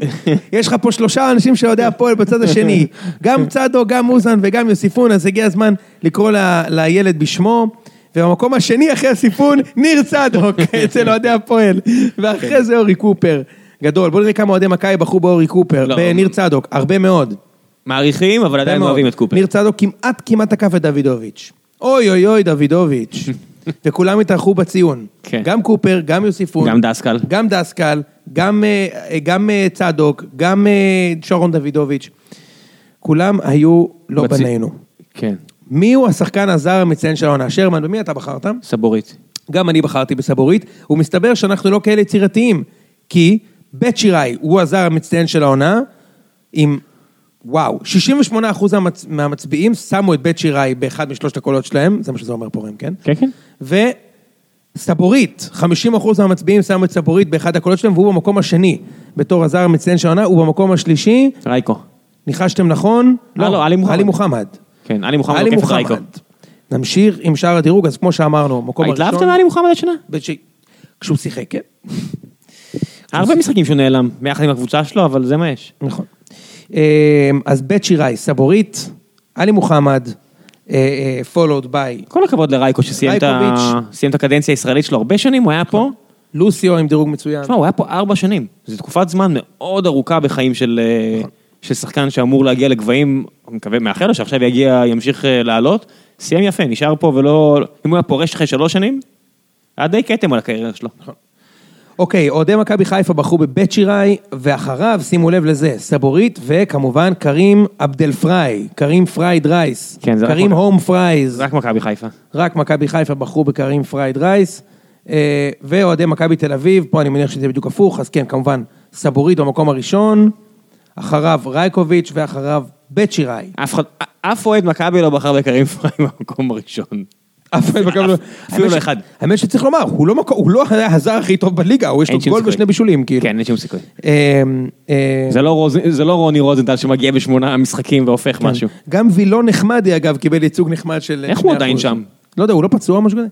[SPEAKER 2] יש לך פה שלושה אנשים שאוהדי הפועל בצד השני, גם צדו, גם אוזן וגם יוסיפון, אז הגיע הזמן לקרוא ל- לילד בשמו, ובמקום השני אחרי הסיפון, <laughs> ניר צדוק אצל אוהדי הפועל, ואחרי זה אורי קופר, גדול, בואו נראה כמה אוהדי מכבי בחרו באורי קופר,
[SPEAKER 1] לא.
[SPEAKER 2] בניר צדוק, הרבה מאוד.
[SPEAKER 1] מעריכים, אבל
[SPEAKER 2] הרבה
[SPEAKER 1] עדיין
[SPEAKER 2] מאוד.
[SPEAKER 1] אוהבים את קופר.
[SPEAKER 2] ניר צדוק כמעט כמעט תקף את דוידוביץ'. אוי אוי
[SPEAKER 1] <laughs>
[SPEAKER 2] אוי דוידוביץ'. וכולם התארחו בציון.
[SPEAKER 1] כן.
[SPEAKER 2] גם קופר, גם יוסיפון.
[SPEAKER 1] גם דסקל.
[SPEAKER 2] גם דסקל, גם, אה, גם אה, צדוק, גם אה, שרון דוידוביץ'. כולם היו לא
[SPEAKER 1] בצי-
[SPEAKER 2] בנינו.
[SPEAKER 1] כן,
[SPEAKER 2] מיהו השחקן הזר המצטיין של העונה? שרמן, במי אתה בחרת?
[SPEAKER 1] סבורית.
[SPEAKER 2] גם אני בחרתי בסבורית, ומסתבר שאנחנו לא כאלה יצירתיים, כי בית שיראי הוא הזר המצטיין של העונה, עם, וואו, 68% המצ... מהמצביעים שמו את בית שיראי באחד משלושת הקולות שלהם, זה מה שזה אומר פורם, כן?
[SPEAKER 1] כן, כן.
[SPEAKER 2] וסבורית, 50% מהמצביעים שמו את סבורית באחד הקולות שלהם, והוא במקום השני, בתור הזר המצטיין של העונה, הוא במקום השלישי,
[SPEAKER 1] רייקו.
[SPEAKER 2] ניחשתם נכון?
[SPEAKER 1] אה, לא, עלי מוחמד.
[SPEAKER 2] עלי מוחמד.
[SPEAKER 1] כן, עלי מוחמד
[SPEAKER 2] עלי
[SPEAKER 1] עוקף את רייקו. אה,
[SPEAKER 2] מוחמד. נמשיך עם שער הדירוג, אז כמו שאמרנו, מקום הראשון...
[SPEAKER 1] התלהבתם מעלי מוחמד השנה?
[SPEAKER 2] בן ש... כשהוא שיחק, כן.
[SPEAKER 1] היה הרבה משחקים שהוא נעלם, ביחד עם הקבוצה שלו, אבל זה מה יש.
[SPEAKER 2] נכון. אמ, אז בית שיראי, סבורית, עלי מוחמד, אה, followed by
[SPEAKER 1] כל הכבוד לרייקו שסיים את ה-
[SPEAKER 2] רייקוביץ'.
[SPEAKER 1] סיים את הקדנציה הישראלית שלו הרבה שנים, הוא היה פה.
[SPEAKER 2] לוסיו עם דירוג מצוין.
[SPEAKER 1] תשמע, הוא היה פה ארבע שנים. זו תקופת זמן מאוד ארוכה בחיים של, אה, של שחקן שאמור להגיע לגבהים, אני מקווה, מאחל לו שעכשיו יגיע, ימשיך אה, לעלות. סיים יפה, נשאר פה ולא... אם הוא היה פורש אחרי שלוש שנים, היה די כתם על הקריירה שלו.
[SPEAKER 2] אוקיי, אוהדי מכבי חיפה בחרו בבית שיראי, ואחריו, שימו לב לזה, סבורית, וכמובן קרים עבדל פריי, קרים פרייד רייס,
[SPEAKER 1] כן, זה רק
[SPEAKER 2] קרים
[SPEAKER 1] מכ-
[SPEAKER 2] הום פרייז,
[SPEAKER 1] רק מכבי חיפה.
[SPEAKER 2] רק מכבי חיפה בחרו בקרים פרייד רייס, אה, ואוהדי מכבי תל אביב, פה אני מניח שזה בדיוק הפוך, אז כן, כמובן, סבורית במקום הראשון, אחריו רייקוביץ' ואחריו בית שיראי.
[SPEAKER 1] אף אחד, אף אוהד מכבי לא בחר בקרים פריי במקום הראשון.
[SPEAKER 2] אף אחד מכבי לא...
[SPEAKER 1] <laughs> אפילו
[SPEAKER 2] האמת
[SPEAKER 1] לא
[SPEAKER 2] ש-
[SPEAKER 1] אחד.
[SPEAKER 2] האמת שצריך לומר, הוא לא מקו- הוא לא היה הזר הכי טוב בליגה, הוא יש לו
[SPEAKER 1] אין שום
[SPEAKER 2] גול
[SPEAKER 1] סיכוי.
[SPEAKER 2] ושני בישולים, כאילו.
[SPEAKER 1] כן, אין שום סיכוי.
[SPEAKER 2] אה, אה,
[SPEAKER 1] זה לא, רוז, זה לא רוני רוזנטל שמגיע בשמונה משחקים
[SPEAKER 2] כן.
[SPEAKER 1] והופך משהו.
[SPEAKER 2] גם וילון נחמדי, אגב, קיבל ייצוג נחמד של...
[SPEAKER 1] איך הוא
[SPEAKER 2] 2%.
[SPEAKER 1] עדיין שם?
[SPEAKER 2] לא יודע, הוא לא פצוע או משהו כזה?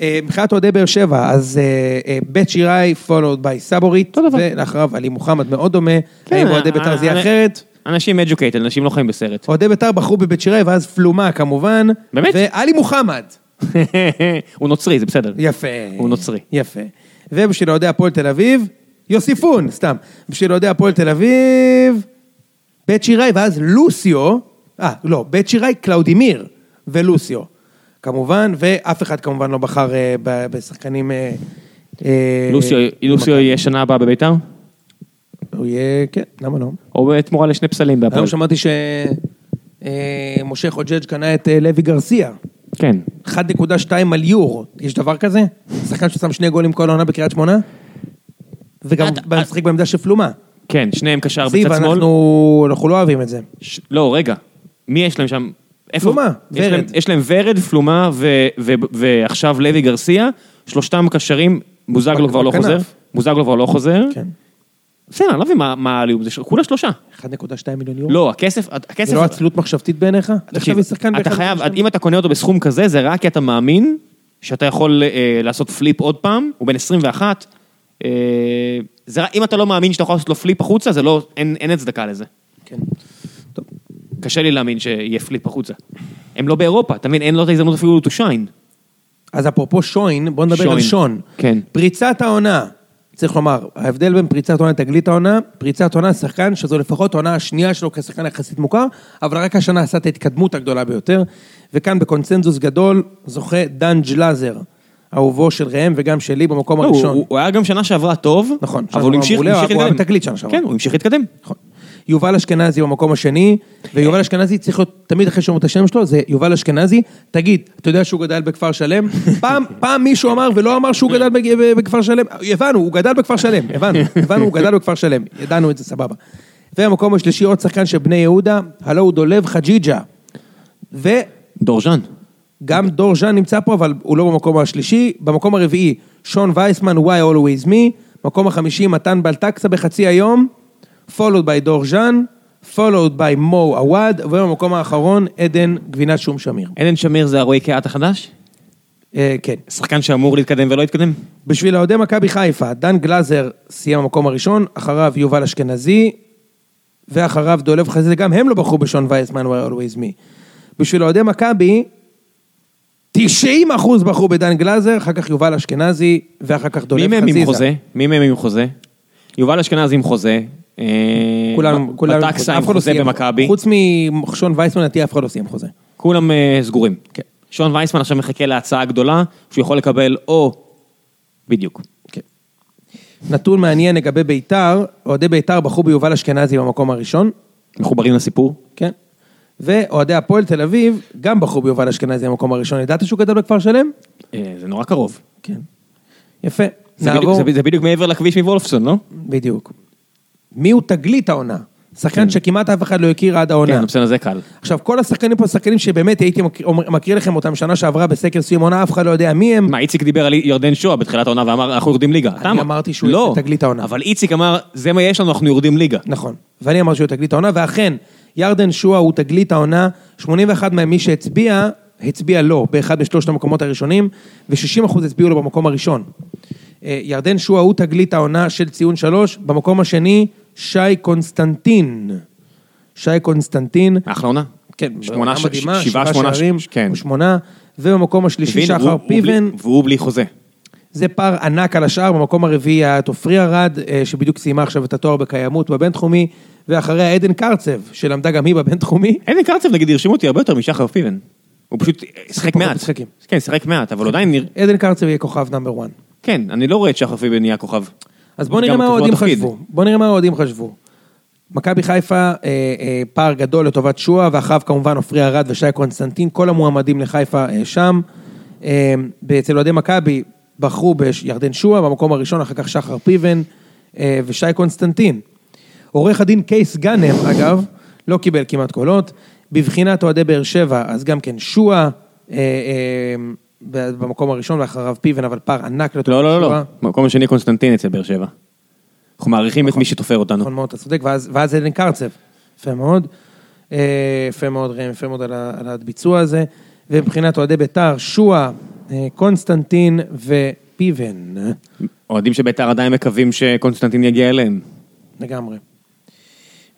[SPEAKER 2] אה, מבחינת אוהדי באר שבע, אז אה, אה, בית שיראי, followed by סבורית,
[SPEAKER 1] אותו דבר.
[SPEAKER 2] ולאחריו עלי מוחמד מאוד דומה, האם כן, אוהדי בית"ר זה יהיה
[SPEAKER 1] אה,
[SPEAKER 2] אחרת?
[SPEAKER 1] אנשים educated, אנשים לא חיים
[SPEAKER 2] <laughs>
[SPEAKER 1] בסרט.
[SPEAKER 2] אוהדי בית"ר בחרו בבית שיראי, ואז פלומה כמובן.
[SPEAKER 1] באמת?
[SPEAKER 2] ועלי מוחמד.
[SPEAKER 1] הוא נוצרי, זה בסדר.
[SPEAKER 2] יפה.
[SPEAKER 1] הוא נוצרי.
[SPEAKER 2] יפה. ובשביל אוהדי הפועל תל אביב, יוסיפון, סתם. בשביל אוהדי הפועל תל אביב, בית שיראי, ואז לוסיו, אה, לא, בית שיראי, קלאודימיר ולוסיו. כמובן, ואף אחד כמובן לא בחר אה, ב- בשחקנים... אה, אה,
[SPEAKER 1] לוסיו, לוסיו יהיה שנה הבאה בביתר?
[SPEAKER 2] הוא יהיה, כן, למה לא?
[SPEAKER 1] או בתמורה לשני פסלים בהפועל?
[SPEAKER 2] היום שמעתי שמשה חוג'ג' קנה את אה, לוי גרסיה.
[SPEAKER 1] כן.
[SPEAKER 2] 1.2 על יור, יש דבר כזה? שחקן ששם שני גולים כל העונה בקריית שמונה? וגם
[SPEAKER 1] אתה-
[SPEAKER 2] משחק בעמדה של פלומה.
[SPEAKER 1] כן, שניהם קשר בצד
[SPEAKER 2] זיו,
[SPEAKER 1] שמאל.
[SPEAKER 2] אנחנו אנחנו לא אוהבים את זה.
[SPEAKER 1] ש- לא, רגע. מי יש להם שם? איפה?
[SPEAKER 2] פלומה,
[SPEAKER 1] יש להם-
[SPEAKER 2] ורד.
[SPEAKER 1] יש להם ורד, פלומה ו- ו- ועכשיו לוי גרסיה. שלושתם קשרים, בוזגלו
[SPEAKER 2] בכ-
[SPEAKER 1] כבר לא
[SPEAKER 2] בכנף.
[SPEAKER 1] חוזר. בוזגלו כבר לא חוזר.
[SPEAKER 2] כן.
[SPEAKER 1] בסדר, אני לא מבין מה- מה העליום, זה ש- כולה שלושה.
[SPEAKER 2] 1.2 מיליון יורו.
[SPEAKER 1] לא, הכסף, הכסף...
[SPEAKER 2] זה לא עצלות מחשבתית בעיניך? אתה
[SPEAKER 1] תקשיב,
[SPEAKER 2] חייב שחקן
[SPEAKER 1] אתה
[SPEAKER 2] ב-
[SPEAKER 1] חייב,
[SPEAKER 2] 1.2?
[SPEAKER 1] אם אתה קונה אותו בסכום כזה, זה רק כי אתה מאמין שאתה יכול אה, לעשות פליפ עוד פעם, הוא בן 21. אה, זה רק, אם אתה לא מאמין שאתה יכול לעשות לו פליפ החוצה, זה לא, אין, אין הצדקה לזה.
[SPEAKER 2] כן.
[SPEAKER 1] קשה לי להאמין שיהיה פליפ החוצה. הם לא באירופה, אתה מבין? אין לו את ההזדמנות אפילו to shine.
[SPEAKER 2] אז אפרופו שוין, בוא נדבר
[SPEAKER 1] שוין.
[SPEAKER 2] על שון.
[SPEAKER 1] כן.
[SPEAKER 2] פריצת העונה, צריך לומר, ההבדל בין פריצת עונה לתגלית העונה, פריצת עונה שחקן שזו לפחות העונה השנייה שלו כשחקן יחסית מוכר, אבל רק השנה עשה את ההתקדמות הגדולה ביותר, וכאן בקונצנזוס גדול זוכה דן ג'לאזר, אהובו של ראם וגם שלי במקום
[SPEAKER 1] לא,
[SPEAKER 2] הראשון.
[SPEAKER 1] הוא, הוא היה גם שנה שעברה טוב,
[SPEAKER 2] נכון, שנה
[SPEAKER 1] אבל הוא
[SPEAKER 2] שעברה
[SPEAKER 1] המשיך
[SPEAKER 2] מעולה,
[SPEAKER 1] המשיך
[SPEAKER 2] הוא היה
[SPEAKER 1] להתקדם.
[SPEAKER 2] בתגלית שנה שעברה.
[SPEAKER 1] כן, הוא המשיך להתקדם.
[SPEAKER 2] נכון. יובל אשכנזי במקום השני, ויובל אשכנזי צריך להיות, תמיד אחרי שאומרים את השם שלו, זה יובל אשכנזי, תגיד, אתה יודע שהוא גדל בכפר שלם? פעם, פעם מישהו אמר ולא אמר שהוא גדל בג- ב- בכפר שלם, הבנו, הוא גדל בכפר שלם, הבנו, הבנו, הוא גדל בכפר שלם, ידענו את זה, סבבה. והמקום השלישי, עוד שחקן של בני יהודה, הלו הוא דולב חג'יג'ה. וגם
[SPEAKER 1] דורז'אן.
[SPEAKER 2] דור ז'אן נמצא פה, אבל הוא לא במקום השלישי. במקום הרביעי, שון וייסמן, why always me. מקום החמישי, מתן בלטקסה בחצי היום, followed by דור ז'אן, followed by מו עווד, ובמקום האחרון, עדן גבינת שום שמיר.
[SPEAKER 1] עדן שמיר זה הרועי קהת החדש?
[SPEAKER 2] אה, כן.
[SPEAKER 1] שחקן שאמור להתקדם ולא התקדם?
[SPEAKER 2] בשביל אוהדי מכבי חיפה, דן גלאזר סיים במקום הראשון, אחריו יובל אשכנזי, ואחריו דולב חזיזה, גם הם לא בחרו בשון וייסמן, why always me. בשביל אוהדי מכבי, 90 אחוז בחרו בדן גלאזר, אחר כך יובל אשכנזי, ואחר כך דולב
[SPEAKER 1] מי
[SPEAKER 2] חזיזה.
[SPEAKER 1] מהם עם חוזה? מי מהם עם חוזה? יובל אשכנזי עם חוזה. אה,
[SPEAKER 2] כולם, כולם,
[SPEAKER 1] בטקסה עם
[SPEAKER 2] אף אחד לא
[SPEAKER 1] חוזה
[SPEAKER 2] סיים.
[SPEAKER 1] במכבי.
[SPEAKER 2] חוץ משון וייסמן, לדעתי אף אחד לא סיים חוזה.
[SPEAKER 1] כולם אה, סגורים.
[SPEAKER 2] כן.
[SPEAKER 1] שון וייסמן עכשיו מחכה להצעה הגדולה, שהוא יכול לקבל או... בדיוק.
[SPEAKER 2] כן. נתון מעניין לגבי ביתר, אוהדי ביתר בחרו ביובל אשכנזי במקום הראשון,
[SPEAKER 1] מחוברים לסיפור?
[SPEAKER 2] כן. ואוהדי הפועל תל אביב גם בחרו ביובל אשכנזי במקום הראשון. ידעת שהוא גדל בכפר שלם?
[SPEAKER 1] אה, זה נורא קרוב.
[SPEAKER 2] כן. יפה.
[SPEAKER 1] זה בדיוק-
[SPEAKER 2] נעבור...
[SPEAKER 1] זה- זה בדיוק מעבר לכביש מוולפסון, לא?
[SPEAKER 2] בדיוק. מי הוא תגלית העונה? שחקן שכמעט אף אחד לא הכיר עד העונה.
[SPEAKER 1] כן, בסדר, זה קל.
[SPEAKER 2] עכשיו, כל השחקנים פה, שחקנים שבאמת הייתי מקריא- אומר- מקריא לכם אותם שנה שעברה בסקר סיום עונה, אף אחד לא יודע מי הם.
[SPEAKER 1] מה, איציק דיבר על ירדן שואה בתחילת העונה ואמר, אנחנו יורדים ליגה. אתה אמר-
[SPEAKER 2] אמרתי שהוא
[SPEAKER 1] לא,
[SPEAKER 2] יעשה תגלית העונה.
[SPEAKER 1] אבל איציק אמר, זה מה יש לנו, אנחנו יורדים ליגה.
[SPEAKER 2] נכון. ואני אמרתי שהוא תגלית העונה, ואכן, ירדן שואה הוא תגלית העונה, 81 ממי שהצביע, הצביע לו באחד משלושת המקומות הראשונים, ו-60% הצביעו לו במקום הראשון. אה, ירדן שואה הוא תגלית העונה של ציון שלוש, במקום השני, שי קונסטנטין. שי קונסטנטין.
[SPEAKER 1] אחלה עונה.
[SPEAKER 2] כן,
[SPEAKER 1] שמונה,
[SPEAKER 2] בעונה
[SPEAKER 1] ש-
[SPEAKER 2] מדהימה,
[SPEAKER 1] שבעה, שמונה, ש-
[SPEAKER 2] שערים,
[SPEAKER 1] כן.
[SPEAKER 2] הוא שמונה, ובמקום השלישי
[SPEAKER 1] מבין?
[SPEAKER 2] שחר
[SPEAKER 1] והוא- והוא בלי-
[SPEAKER 2] פיבן,
[SPEAKER 1] והוא בלי חוזה.
[SPEAKER 2] זה פער ענק על השאר, במקום הרביעי היה את עופרי ארד, אה, שבדיוק סיימה עכשיו את התואר בקיימות בבינתחומי, ואחריה עדן קרצב, שלמדה גם היא בבינתחומי.
[SPEAKER 1] עדן קרצב, נגיד, הרשים אותי הרבה יותר משחר פיבן. הוא פשוט שיחק
[SPEAKER 2] פחות
[SPEAKER 1] מעט.
[SPEAKER 2] משחקים.
[SPEAKER 1] כן, שיחק מעט, אבל עדיין נראה...
[SPEAKER 2] עדן קרצב יהיה כוכב נאמבר 1.
[SPEAKER 1] כן, אני לא רואה את שחר פיבן נהיה כוכב.
[SPEAKER 2] אז בואו נראה
[SPEAKER 1] גם
[SPEAKER 2] מה
[SPEAKER 1] כתבו
[SPEAKER 2] האוהדים
[SPEAKER 1] התפקיד.
[SPEAKER 2] חשבו. בואו נראה מה האוהדים חשבו. מכבי חיפה, אה, אה, פער גדול לטובת שועה, ואחריו כמובן עופרי ארד ושי קונסטנטין, כל המועמדים לחיפה אה, שם. אה, אצל אוהדי מכבי בחרו בירדן שועה, במקום הראשון, אחר כך שחר פיבן אה, ושי קונסטנטין. עורך הדין קייס גאנם, אגב, לא קיבל כמעט קולות. בבחינת אוהדי באר שבע, אז גם כן שועה, אה, אה, ב- במקום הראשון, ואחריו פיבן, אבל פער ענק לטובת
[SPEAKER 1] לא,
[SPEAKER 2] שועה.
[SPEAKER 1] לא, לא, לא. מקום השני קונסטנטין אצל באר שבע. אנחנו מעריכים את מי שתופר אותנו.
[SPEAKER 2] נכון מאוד, אתה צודק, ואז, ואז אלן קרצב. יפה מאוד. אה, יפה מאוד, ראם, יפה מאוד על, ה, על הביצוע הזה. ומבחינת אוהדי בית"ר, שועה, אה, קונסטנטין ופיבן. אה,
[SPEAKER 1] אוהדים של בית"ר עדיין מקווים שקונסטנטין יגיע אליהם.
[SPEAKER 2] לגמרי.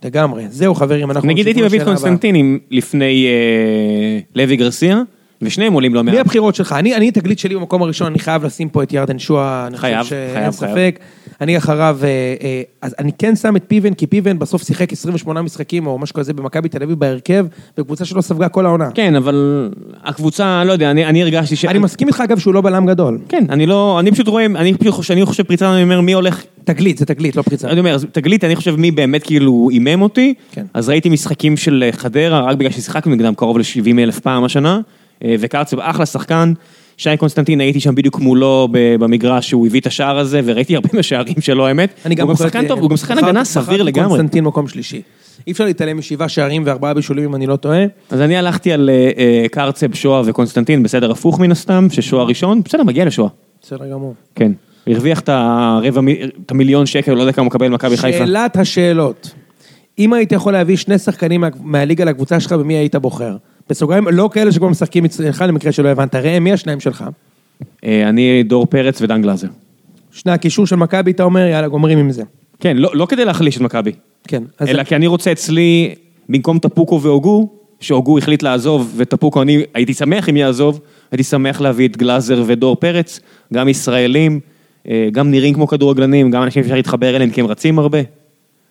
[SPEAKER 2] לגמרי. זהו, חברים, אנחנו...
[SPEAKER 1] נגיד הייתי
[SPEAKER 2] ממשיכים
[SPEAKER 1] מביא את
[SPEAKER 2] לשאלה הבאה.
[SPEAKER 1] קונסטנטינים לפני אה, לוי גרסיה, ושניהם עולים לא
[SPEAKER 2] מי
[SPEAKER 1] מעט.
[SPEAKER 2] הבחירות שלך? אני, אני תגלית שלי במקום הראשון, אני חייב לשים פה את ירדן שואה, אני
[SPEAKER 1] חייב,
[SPEAKER 2] חושב
[SPEAKER 1] חייב,
[SPEAKER 2] שאין ספק. אני אחריו, אה, אה, אז אני כן שם את פיבן, כי פיבן בסוף שיחק 28 משחקים או משהו כזה במכבי תל אביב בהרכב, בקבוצה שלא ספגה כל העונה.
[SPEAKER 1] כן, אבל הקבוצה, לא יודע, אני אני הרגשתי ש...
[SPEAKER 2] אני מסכים איתך אגב שהוא לא בלם גדול.
[SPEAKER 1] כן, אני לא, אני פשוט רואה, אני פשוט חושב, אני חושב פריצה, אני אומר מי הולך,
[SPEAKER 2] תגלית, זה תגלית, לא פריצה.
[SPEAKER 1] אני אומר, אז תגלית, אני חושב מי באמת כאילו אימם אותי,
[SPEAKER 2] כן.
[SPEAKER 1] אז ראיתי משחקים של אה, חדרה, רק בגלל ששיחקנו נגדם קרוב ל-70 אלף פעם השנה, אה, וקרצב אחלה שחקן, שי קונסטנטין, הייתי שם בדיוק מולו ב- במגרש, שהוא הביא את השער הזה, וראיתי הרבה מהשערים שלו, האמת. הוא גם
[SPEAKER 2] בוחר את-
[SPEAKER 1] שחקן טוב, הוא גם שחקן
[SPEAKER 2] בחרתי-
[SPEAKER 1] הגנה
[SPEAKER 2] בחרתי
[SPEAKER 1] סביר לגמרי.
[SPEAKER 2] קונסטנטין מקום שלישי. אי אפשר להתעלם משבעה שערים וארבעה בישולים, אם אני לא טועה.
[SPEAKER 1] אז אני הלכתי על אה, אה, קרצב, שואה וקונסטנטין, בסדר הפוך מן הסתם, ששואה ראשון, בסדר, מגיע לשואה,
[SPEAKER 2] בסדר גמור.
[SPEAKER 1] כן. הרוויח את הרבע, מי- את המיליון שקל, לא יודע כמה הוא מקבל במכבי חיפה.
[SPEAKER 2] שאלת השאלות. אם היית יכול להביא שני שחקנים מה- מהליגה לקבוצה שלך, במי היית בוחר? בסוגריים, לא כאלה שכבר משחקים אצלך, למקרה שלא הבנת. ראם, מי השניים שלך?
[SPEAKER 1] אה, אני דור פרץ ודן גלאזר.
[SPEAKER 2] שני הקישור של מכבי, אתה אומר, יאללה, גומרים עם זה.
[SPEAKER 1] כן, לא, לא כדי להחליש את מכבי,
[SPEAKER 2] כן. אז
[SPEAKER 1] אלא כי אני רוצה אצלי, במקום טפוקו והוגו, שהוגו החליט לעזוב, וטפוקו, אני הייתי שמח אם יעזוב, הייתי שמח להביא את גלאזר ודור פרץ, גם ישראלים, אה, גם נראים כמו כדורגלנים, גם אנשים שאפשר להתחבר אליהם כי הם רצים הרבה.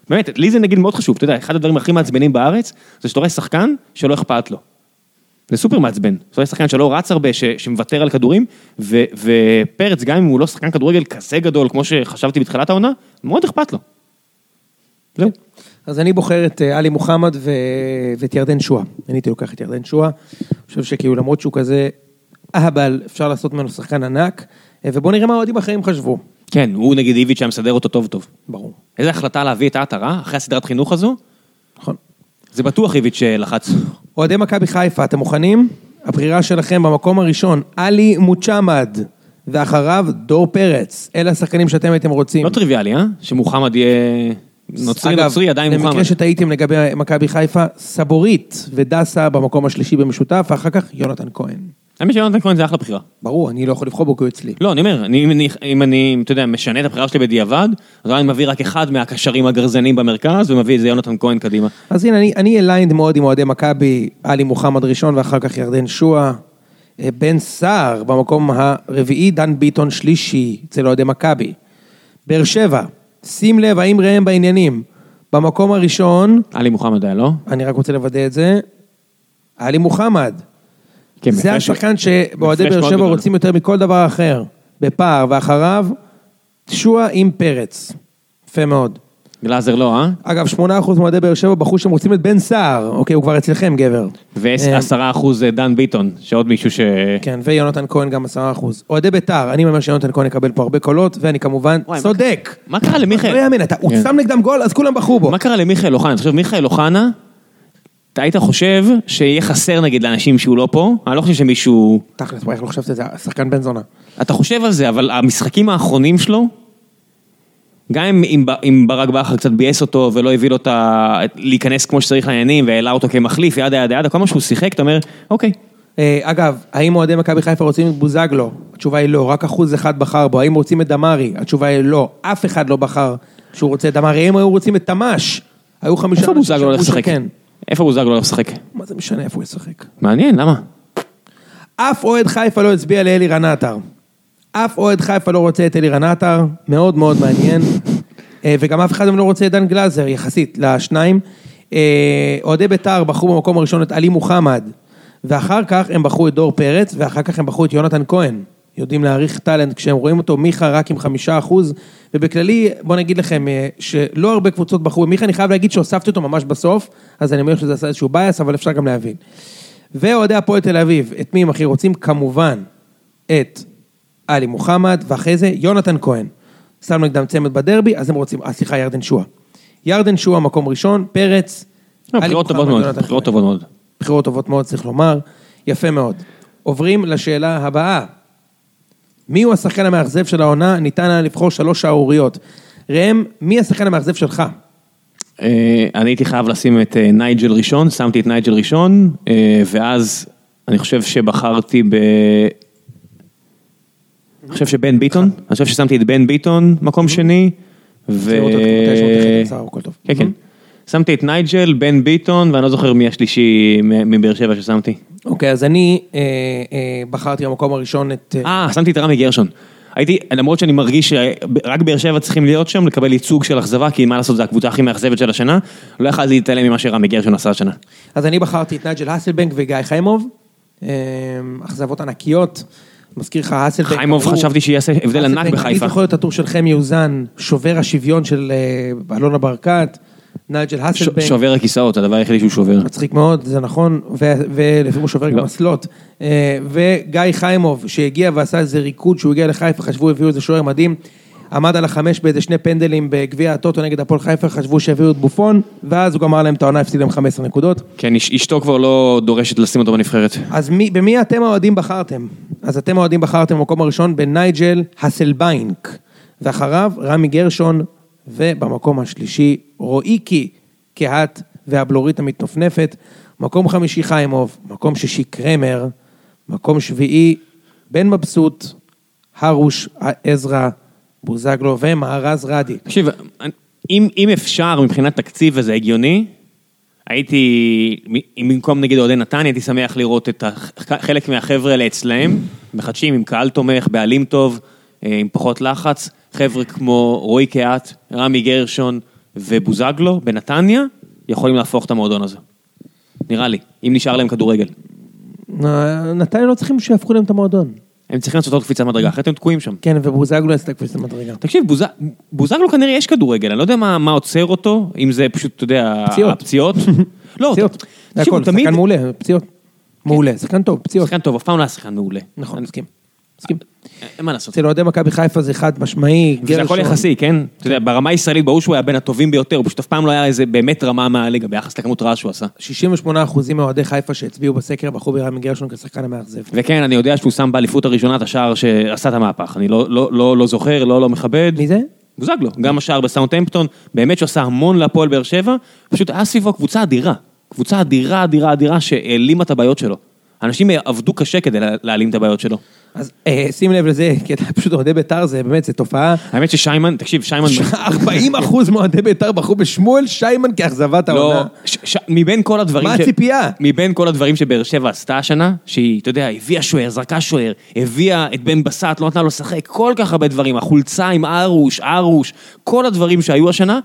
[SPEAKER 1] באמת, לי זה נגיד מאוד חשוב, אתה יודע, אחד הדברים הכי מעצבנים בארץ, זה שאתה רואה שחקן שלא אכפת לו. זה סופר מעצבן. אתה רואה שחקן שלא רץ הרבה, ש, שמוותר על כדורים, ו, ופרץ, גם אם הוא לא שחקן כדורגל כזה גדול, כמו שחשבתי בתחילת העונה, מאוד אכפת לו. זהו.
[SPEAKER 2] כן. אז אני בוחר את אה, עלי מוחמד ו... ואת ירדן שואה. אני הייתי לוקח את ירדן שואה. אני חושב שכאילו למרות שהוא כזה אהבל, אפשר לעשות ממנו שחקן ענק. אה, ובואו נראה מה אוהדים אחרים חשבו.
[SPEAKER 1] כן, הוא נגיד איביץ' היה מסדר אותו טוב טוב.
[SPEAKER 2] ברור.
[SPEAKER 1] איזה החלטה להביא את העטרה, אחרי הסדרת חינוך הזו,
[SPEAKER 2] נכון.
[SPEAKER 1] זה בטוח איביץ' אה, שלחץ.
[SPEAKER 2] אוהדי מכבי חיפה, אתם מוכנים? הבחירה שלכם במקום הראשון, עלי מוצ'מד, ואחריו דור פרץ. אלה השחקנים שאתם הייתם רוצים.
[SPEAKER 1] לא טריוויאלי, אה? שמוחמד יהיה נוצרי נוצרי, עדיין
[SPEAKER 2] אגב,
[SPEAKER 1] מוחמד.
[SPEAKER 2] למקרה שטעיתם לגבי מכבי חיפה, סבורית ודסה במקום השלישי במשותף, ואחר כך יונתן כהן.
[SPEAKER 1] האמת שיונתן כהן זה אחלה בחירה.
[SPEAKER 2] ברור, אני לא יכול לבחור בו כי הוא אצלי.
[SPEAKER 1] לא, אני אומר, אני, אם אני, אם אני, אתה יודע, משנה את הבחירה שלי בדיעבד, אז אני מביא רק אחד מהקשרים הגרזנים במרכז, ומביא את זה יונתן כהן קדימה.
[SPEAKER 2] אז הנה, אני, אני אליינד מאוד עם אוהדי מכבי, עלי מוחמד ראשון ואחר כך ירדן שואה. אה, בן סער במקום הרביעי, דן ביטון שלישי אצל אוהדי מכבי. באר שבע, שים לב האם ראם בעניינים. במקום הראשון,
[SPEAKER 1] עלי מוחמד היה, לא?
[SPEAKER 2] אני רק רוצה לוודא את זה, עלי מוחמד.
[SPEAKER 1] כן,
[SPEAKER 2] זה
[SPEAKER 1] בהפרש-
[SPEAKER 2] השחקן שבאוהדי
[SPEAKER 1] בהפרש
[SPEAKER 2] באר
[SPEAKER 1] מאוד
[SPEAKER 2] שבע
[SPEAKER 1] גדול.
[SPEAKER 2] רוצים יותר מכל דבר אחר. בפער, ואחריו, שועה עם פרץ. יפה מאוד.
[SPEAKER 1] גלאזר לא, אה?
[SPEAKER 2] אגב, 8% מאוהדי באר שבע בחרו שהם רוצים את בן סער. אוקיי, הוא כבר אצלכם, גבר. אה,
[SPEAKER 1] ועשרה אחוז דן ביטון, שעוד מישהו ש...
[SPEAKER 2] כן, ויונתן כהן גם 10%. אוהדי ביתר, אני אומר שיונתן כהן יקבל פה הרבה קולות, ואני כמובן
[SPEAKER 1] וואי, מה-
[SPEAKER 2] צודק.
[SPEAKER 1] מה קרה
[SPEAKER 2] לא
[SPEAKER 1] למיכאל?
[SPEAKER 2] יאמן, אתה- הוא
[SPEAKER 1] כן.
[SPEAKER 2] שם נגדם גול, אז כולם בחרו בו.
[SPEAKER 1] מה קרה למיכאל אוחנה? אתה חושב, מיכאל אוחנה, אתה היית חושב שיהיה חסר נגיד לאנשים שהוא לא פה? אני לא חושב שמישהו...
[SPEAKER 2] תכלס, וואי, איך לא חשבתי את זה, השחקן בן זונה.
[SPEAKER 1] אתה חושב על זה, אבל המשחקים האחרונים שלו, גם אם, אם, ב- אם ברק בכר קצת ביאס אותו ולא הביא לו את ה... את- להיכנס כמו שצריך לעניינים והעלה אותו כמחליף, ידה ידה ידה, כל מה שהוא שיחק, אתה אומר, אוקיי.
[SPEAKER 2] אה, אגב, האם אוהדי מכבי חיפה רוצים את בוזגלו? התשובה היא לא, רק אחוז אחד בחר בו. האם רוצים את דמארי? התשובה היא לא, אף אחד לא בחר שהוא רוצה את דמארי. אם היו רוצים את תמ"ש, היו חמישה...
[SPEAKER 1] איפה
[SPEAKER 2] אנשים
[SPEAKER 1] בוזגלו הולך
[SPEAKER 2] שאמרו
[SPEAKER 1] לשחק?
[SPEAKER 2] שכן.
[SPEAKER 1] איפה בוזגלו הולך לשחק?
[SPEAKER 2] מה זה משנה איפה הוא ישחק?
[SPEAKER 1] מעניין, למה?
[SPEAKER 2] אף אוהד חיפה לא הצביע לאלירן עטר. אף אוהד חיפה לא רוצה את אלירן עטר, מאוד מאוד מעניין. אה, וגם אף אחד מהם לא רוצה את דן גלאזר, יחסית לשניים. אה, אוהדי בית"ר בחרו במקום הראשון את עלי מוחמד, ואחר כך הם בחרו את דור פרץ, ואחר כך הם בחרו את יונתן כהן. יודעים להעריך טאלנט כשהם רואים אותו, מיכה רק עם חמישה אחוז, ובכללי, בוא נגיד לכם, אה, שלא הרבה קבוצות בחרו, מיכה, אני חייב להגיד שהוספתי אותו ממש בסוף, אז אני אומר שזה עשה איזשהו בייס, אבל אפשר גם להבין. ואוהדי הפועל תל אביב, את מי הם הכי רוצים? כמובן, את עלי מוחמד, ואחרי זה יונתן כהן. שם נגדם צמד בדרבי, אז הם רוצים, אה, סליחה, ירדן שואה. ירדן שואה, מקום ראשון, פרץ,
[SPEAKER 1] לא,
[SPEAKER 2] עלי
[SPEAKER 1] בחירות
[SPEAKER 2] מוחמד,
[SPEAKER 1] טובות מאוד,
[SPEAKER 2] יונתן
[SPEAKER 1] בחירות
[SPEAKER 2] כהן.
[SPEAKER 1] טובות מאוד.
[SPEAKER 2] בחירות טובות מאוד, צריך לומר. יפה מאוד. עוברים לשאלה הבאה. מיהו השחקן המאכזב של העונה? ניתן היה לבחור שלוש שערוריות. ראם, מי השחקן המאכזב שלך?
[SPEAKER 1] אה, אני הייתי חייב לשים את אה, נייג'ל ראשון, שמתי את נייג'ל ראשון, אה, ואז אני חושב שבחרתי ב... אני חושב שבן ביטון, אני חושב ששמתי את בן ביטון מקום שני, ו...
[SPEAKER 2] צריך לראות אותו, מתי שהוא מתחיל עם שיער, הכל טוב.
[SPEAKER 1] כן, כן. שמתי את נייג'ל, בן ביטון, ואני לא זוכר מי השלישי מ- מבאר שבע ששמתי.
[SPEAKER 2] אוקיי, אז אני אה, אה, בחרתי במקום הראשון את... אה,
[SPEAKER 1] אה, שמתי את רמי גרשון. הייתי, למרות שאני מרגיש שרק באר שבע צריכים להיות שם, לקבל ייצוג של אכזבה, כי מה לעשות, זו הקבוצה הכי מאכזבת של השנה, לא יכלתי להתעלם ממה שרמי גרשון עשה השנה.
[SPEAKER 2] אז אני בחרתי את נייג'ל האסלבנק וגיא חיימוב, אמ, אכזבות ענקיות. מזכיר לך, האסלבנק...
[SPEAKER 1] חיימוב
[SPEAKER 2] עברו-
[SPEAKER 1] חשבתי שיעשה הבדל ענק
[SPEAKER 2] האסלבנק,
[SPEAKER 1] בחיפה.
[SPEAKER 2] אני זוכר את הטור של חמי אוזן, שובר השוויון של אה, אלונה ברקת, נייג'ל
[SPEAKER 1] ש-
[SPEAKER 2] האסלבנק,
[SPEAKER 1] שובר הכיסאות, הדבר היחידי שהוא שובר.
[SPEAKER 2] מצחיק מאוד, זה נכון, ו- ולפעמים הוא שובר גם
[SPEAKER 1] לא.
[SPEAKER 2] אסלות. אה, וגיא חיימוב, שהגיע ועשה איזה ריקוד, שהוא הגיע לחיפה, חשבו, הביאו איזה שוער מדהים. עמד על החמש באיזה שני פנדלים בגביע הטוטו נגד הפועל חיפה, חשבו שהביאו את בופון, ואז הוא גמר להם את העונה, הפסיד להם 15 נקודות.
[SPEAKER 1] כן, אש- אשתו כבר לא דורשת לשים אותו בנבחרת.
[SPEAKER 2] אז מי, במי אתם האוהדים בחרתם? אז אתם האוהדים בחרתם במקום הראשון בנייג'ל הסלביינק, ואחריו רמי גרשון, ובמקום השלישי רואיקי, קהת והבלורית המתנופנפת, מקום חמישי חיימוב, מקום שישי קרמר, מקום שביעי בן מבסוט, הרוש עזרא, בוזגלו ומארז רדי.
[SPEAKER 1] תקשיב, אני- אם אם אפשר מבחינת תקציב וזה הגיוני, הייתי, מ- אם במקום נגיד אוהדי נתניה, הייתי שמח לראות את הח- חלק מהחבר'ה האלה אצלהם, מחדשים עם קהל תומך, בעלים טוב, אה, עם פחות לחץ. חבר'ה כמו רועי קהת, רמי גרשון ובוזגלו בנתניה, יכולים להפוך את המועדון הזה. נראה לי, אם נשאר להם כדורגל.
[SPEAKER 2] נתניה לא צריכים שיהפכו להם את המועדון.
[SPEAKER 1] הם צריכים לעשות עוד קפיצת מדרגה, אחרת הם תקועים שם.
[SPEAKER 2] כן, ובוזגלו יצא קפיצת מדרגה.
[SPEAKER 1] תקשיב, בוז- בוזגלו כנראה יש כדורגל, אני לא יודע מה מה עוצר אותו, אם זה פשוט, אתה יודע,
[SPEAKER 2] פציעות. <laughs>
[SPEAKER 1] הפציעות. לא,
[SPEAKER 2] פציעות. זה
[SPEAKER 1] תקשיב,
[SPEAKER 2] הכל,
[SPEAKER 1] הוא תמיד... כן.
[SPEAKER 2] שחקן מעולה, פציעות. מעולה, שחקן טוב, פציעות.
[SPEAKER 1] שחקן טוב, אף פעם לא היה שחקן מעולה.
[SPEAKER 2] נכון, מסכים. מסכים.
[SPEAKER 1] אין מה לעשות.
[SPEAKER 2] אצל אוהדי מכבי חיפה זה חד משמעי,
[SPEAKER 1] וזה הכל
[SPEAKER 2] גרשון.
[SPEAKER 1] יחסי, כן? אתה יודע, ברמה הישראלית ברור שהוא היה בין הטובים ביותר, הוא פשוט אף פעם לא היה איזה באמת רמה מהליגה ביחס לכמות רעש שהוא עשה.
[SPEAKER 2] 68% מאוהדי חיפה שהצביעו בסקר בחרו ברמי גרשון כשחקן המאכזב.
[SPEAKER 1] וכן, אני יודע שהוא שם באליפות הראשונה את השער שעשה את המהפך. אני לא- לא לא- לא זוכר, לא לא מכבד.
[SPEAKER 2] מי זה?
[SPEAKER 1] בוזגלו, גם השער בסאונטהמפטון, באמת שהוא עשה המון להפועל באר שבע, פשוט היה סביבו קבוצה אדירה. קבוצה אדירה, אדירה, אדירה, שהעלימה את הבעיות שלו. אנשים עבדו קשה כדי לה- להעלים את הבעיות שלו.
[SPEAKER 2] אז אה, שים לב לזה, כי אתה פשוט אוהדי בית"ר, זה באמת, זה תופעה.
[SPEAKER 1] האמת ששיימן, תקשיב, שיימן...
[SPEAKER 2] 40% מאוהדי בית"ר בחרו בשמואל שיימן כאכזבת
[SPEAKER 1] לא,
[SPEAKER 2] העונה.
[SPEAKER 1] ש, ש, מבין כל הדברים...
[SPEAKER 2] מה הציפייה?
[SPEAKER 1] מבין כל הדברים שבאר שבע עשתה השנה, שהיא, אתה יודע, הביאה שוער, זרקה שוער, הביאה את בן בסט, לא נתנה לו לשחק, כל כך הרבה דברים, החולצה עם ארוש, ארוש, כל הדברים שהיו השנה,